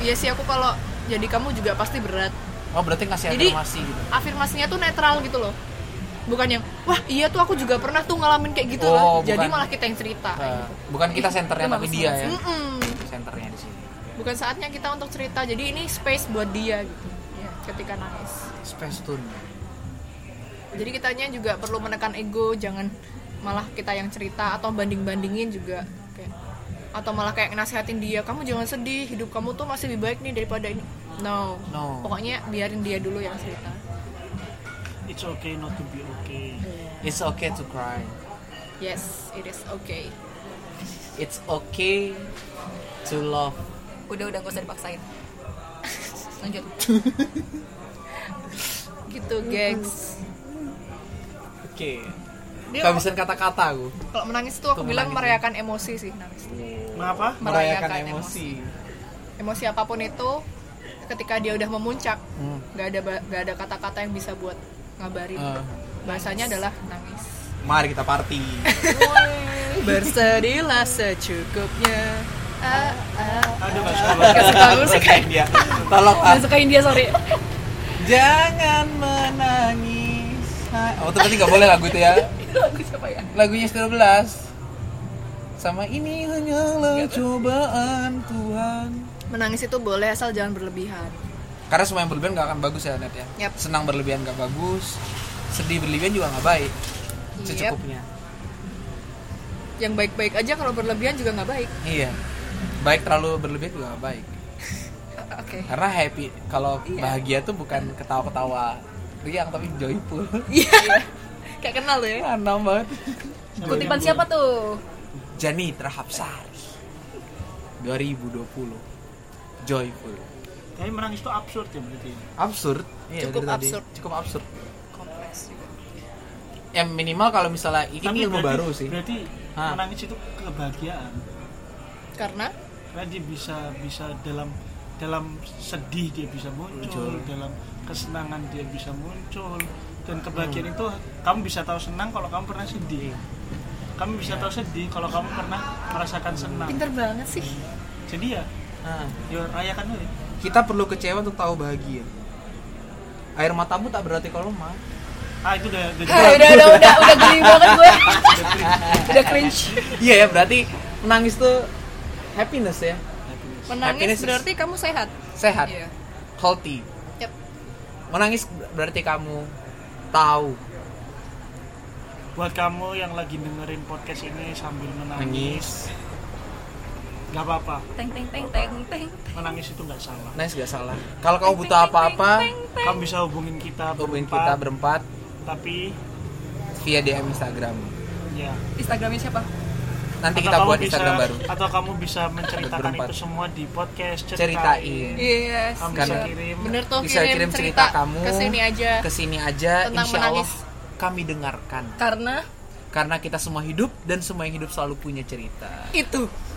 S2: iya sih aku kalau jadi kamu juga pasti berat
S3: oh berarti ngasih
S2: Jadi-
S3: afirmasi gitu
S2: afirmasinya tuh netral gitu loh bukan yang wah iya tuh aku juga pernah tuh ngalamin kayak gitu lah
S3: Oh,
S2: jadi
S3: bukan.
S2: malah kita yang cerita
S3: Eh, bukan kita senternya
S4: Itu
S3: tapi
S4: bagus
S3: dia ya
S2: Mm-mm.
S3: senternya di sini
S2: bukan saatnya kita untuk cerita jadi ini space buat dia gitu ya, ketika nangis
S3: space tune
S2: Jadi kitanya juga perlu menekan ego, jangan malah kita yang cerita atau banding-bandingin juga kayak atau malah kayak nasihatin dia, kamu jangan sedih, hidup kamu tuh masih lebih baik nih daripada ini. No.
S3: No.
S2: Pokoknya biarin dia dulu yang cerita.
S1: It's okay not to be okay.
S3: it's okay to cry
S2: Yes, it is okay.
S3: it's okay to love
S4: udah udah gak usah dipaksain lanjut
S2: Gitu, gengs.
S3: oke
S2: Dia-
S3: kehabisan kata-kata gue
S2: Kalau menangis tuh aku
S3: Tuh,
S2: bilang
S3: menangis. ya.
S2: merayakan emosi sih nangis.
S1: Kenapa?
S3: merayakan
S4: Merayakan
S3: emosi,
S2: Iya. Emosi apapun itu ketika dia udah memuncak,
S3: Hmm.
S2: nggak ada ba- nggak ada kata-kata yang bisa buat ngabarin.
S3: Eh,
S2: Bahasanya adalah nangis.
S3: mari kita party
S2: Bersedihlah secukupnya. Ah, ah.
S1: Aduh gak suka banget.
S2: Gak suka musik
S3: Tolong dia tolong ah.
S4: suka India sorry
S3: jangan menangis oh itu berarti nggak boleh lagu itu ya
S4: lagu siapa ya
S3: lagunya 12 sama ini
S2: Iya,
S3: hanyalah cobaan Tuhan
S2: Menangis itu boleh asal jangan berlebihan.
S3: karena semua yang berlebihan gak akan bagus ya net ya
S2: Yap.
S3: senang berlebihan gak bagus sedih berlebihan juga gak baik secukupnya
S2: Yang baik-baik aja kalau berlebihan juga nggak baik.
S3: iya baik terlalu berlebihan juga gak baik
S2: Oke.
S3: karena happy kalau
S2: Iya.
S3: bahagia tuh bukan ketawa-ketawa riang tapi joyful
S2: Iya. Kayak kenal tuh ya.
S3: anam banget
S4: kutipan siapa tuh
S3: Jani Hapsari 2020 joyful
S1: Tapi menangis itu absurd ya berarti.
S3: absurd Iya,
S2: Cukup
S3: itu tadi.
S2: absurd.
S3: cukup absurd
S4: kompleks juga
S3: ya minimal kalau misalnya ini
S1: Tapi
S3: ilmu
S1: berarti-
S3: baru sih
S1: Berarti
S3: Hah.
S1: menangis itu kebahagiaan.
S2: Karena
S1: Karena dia bisa bisa dalam dalam sedih dia bisa muncul,
S3: Muncul.
S1: dalam kesenangan dia bisa muncul. Dan
S3: Hmm.
S1: kebahagiaan itu kamu bisa tahu senang kalau kamu pernah sedih.
S3: Iya.
S1: Kamu bisa tahu sedih kalau kamu pernah merasakan
S3: Hmm.
S1: senang.
S2: pinter banget sih.
S1: Jadi ya,
S3: Ah,
S1: ya rayakan dulu.
S3: kita perlu kecewa untuk tahu bahagia Air matamu tak berarti kalau mah.
S1: ah itu udah udah
S4: Ah, udah udah udah udah geli banget gue udah cringe
S3: Iya ya berarti menangis tuh happiness ya. Happiness
S2: Menangis
S3: is-
S2: berarti kamu sehat.
S3: Sehat,
S2: Iya.
S3: healthy.
S2: Yep.
S3: Menangis berarti kamu tahu
S1: buat kamu yang lagi dengerin podcast ini sambil menangis nggak apa-apa
S4: teng teng teng teng teng
S1: menangis itu nggak salah
S3: Nice gak salah. Kalau kamu butuh apa-apa,
S1: kamu Kan bisa hubungin kita
S3: hubungin
S1: berempat,
S3: kita berempat
S1: tapi
S3: via DM Instagram.
S1: ya
S4: Instagramnya siapa
S3: Nanti
S1: Atau
S3: kita
S1: kamu
S3: buat
S1: bisa-
S3: Instagram baru.
S1: atau kamu bisa menceritakan
S3: Berempat.
S1: itu semua di podcast
S3: Ceritain.
S4: yes
S1: kamu bisa
S3: Karena-
S1: kirim
S2: Bener tuh
S3: Bisa
S2: kirim,
S3: kirim cerita
S2: cerita,
S3: kamu.
S2: ke sini aja.
S3: Kesini aja,
S2: Tentang
S3: insya Allah
S2: menangis.
S3: kami dengarkan.
S4: karena
S3: Karena kita semua hidup dan semua yang hidup selalu punya cerita.
S2: Itu.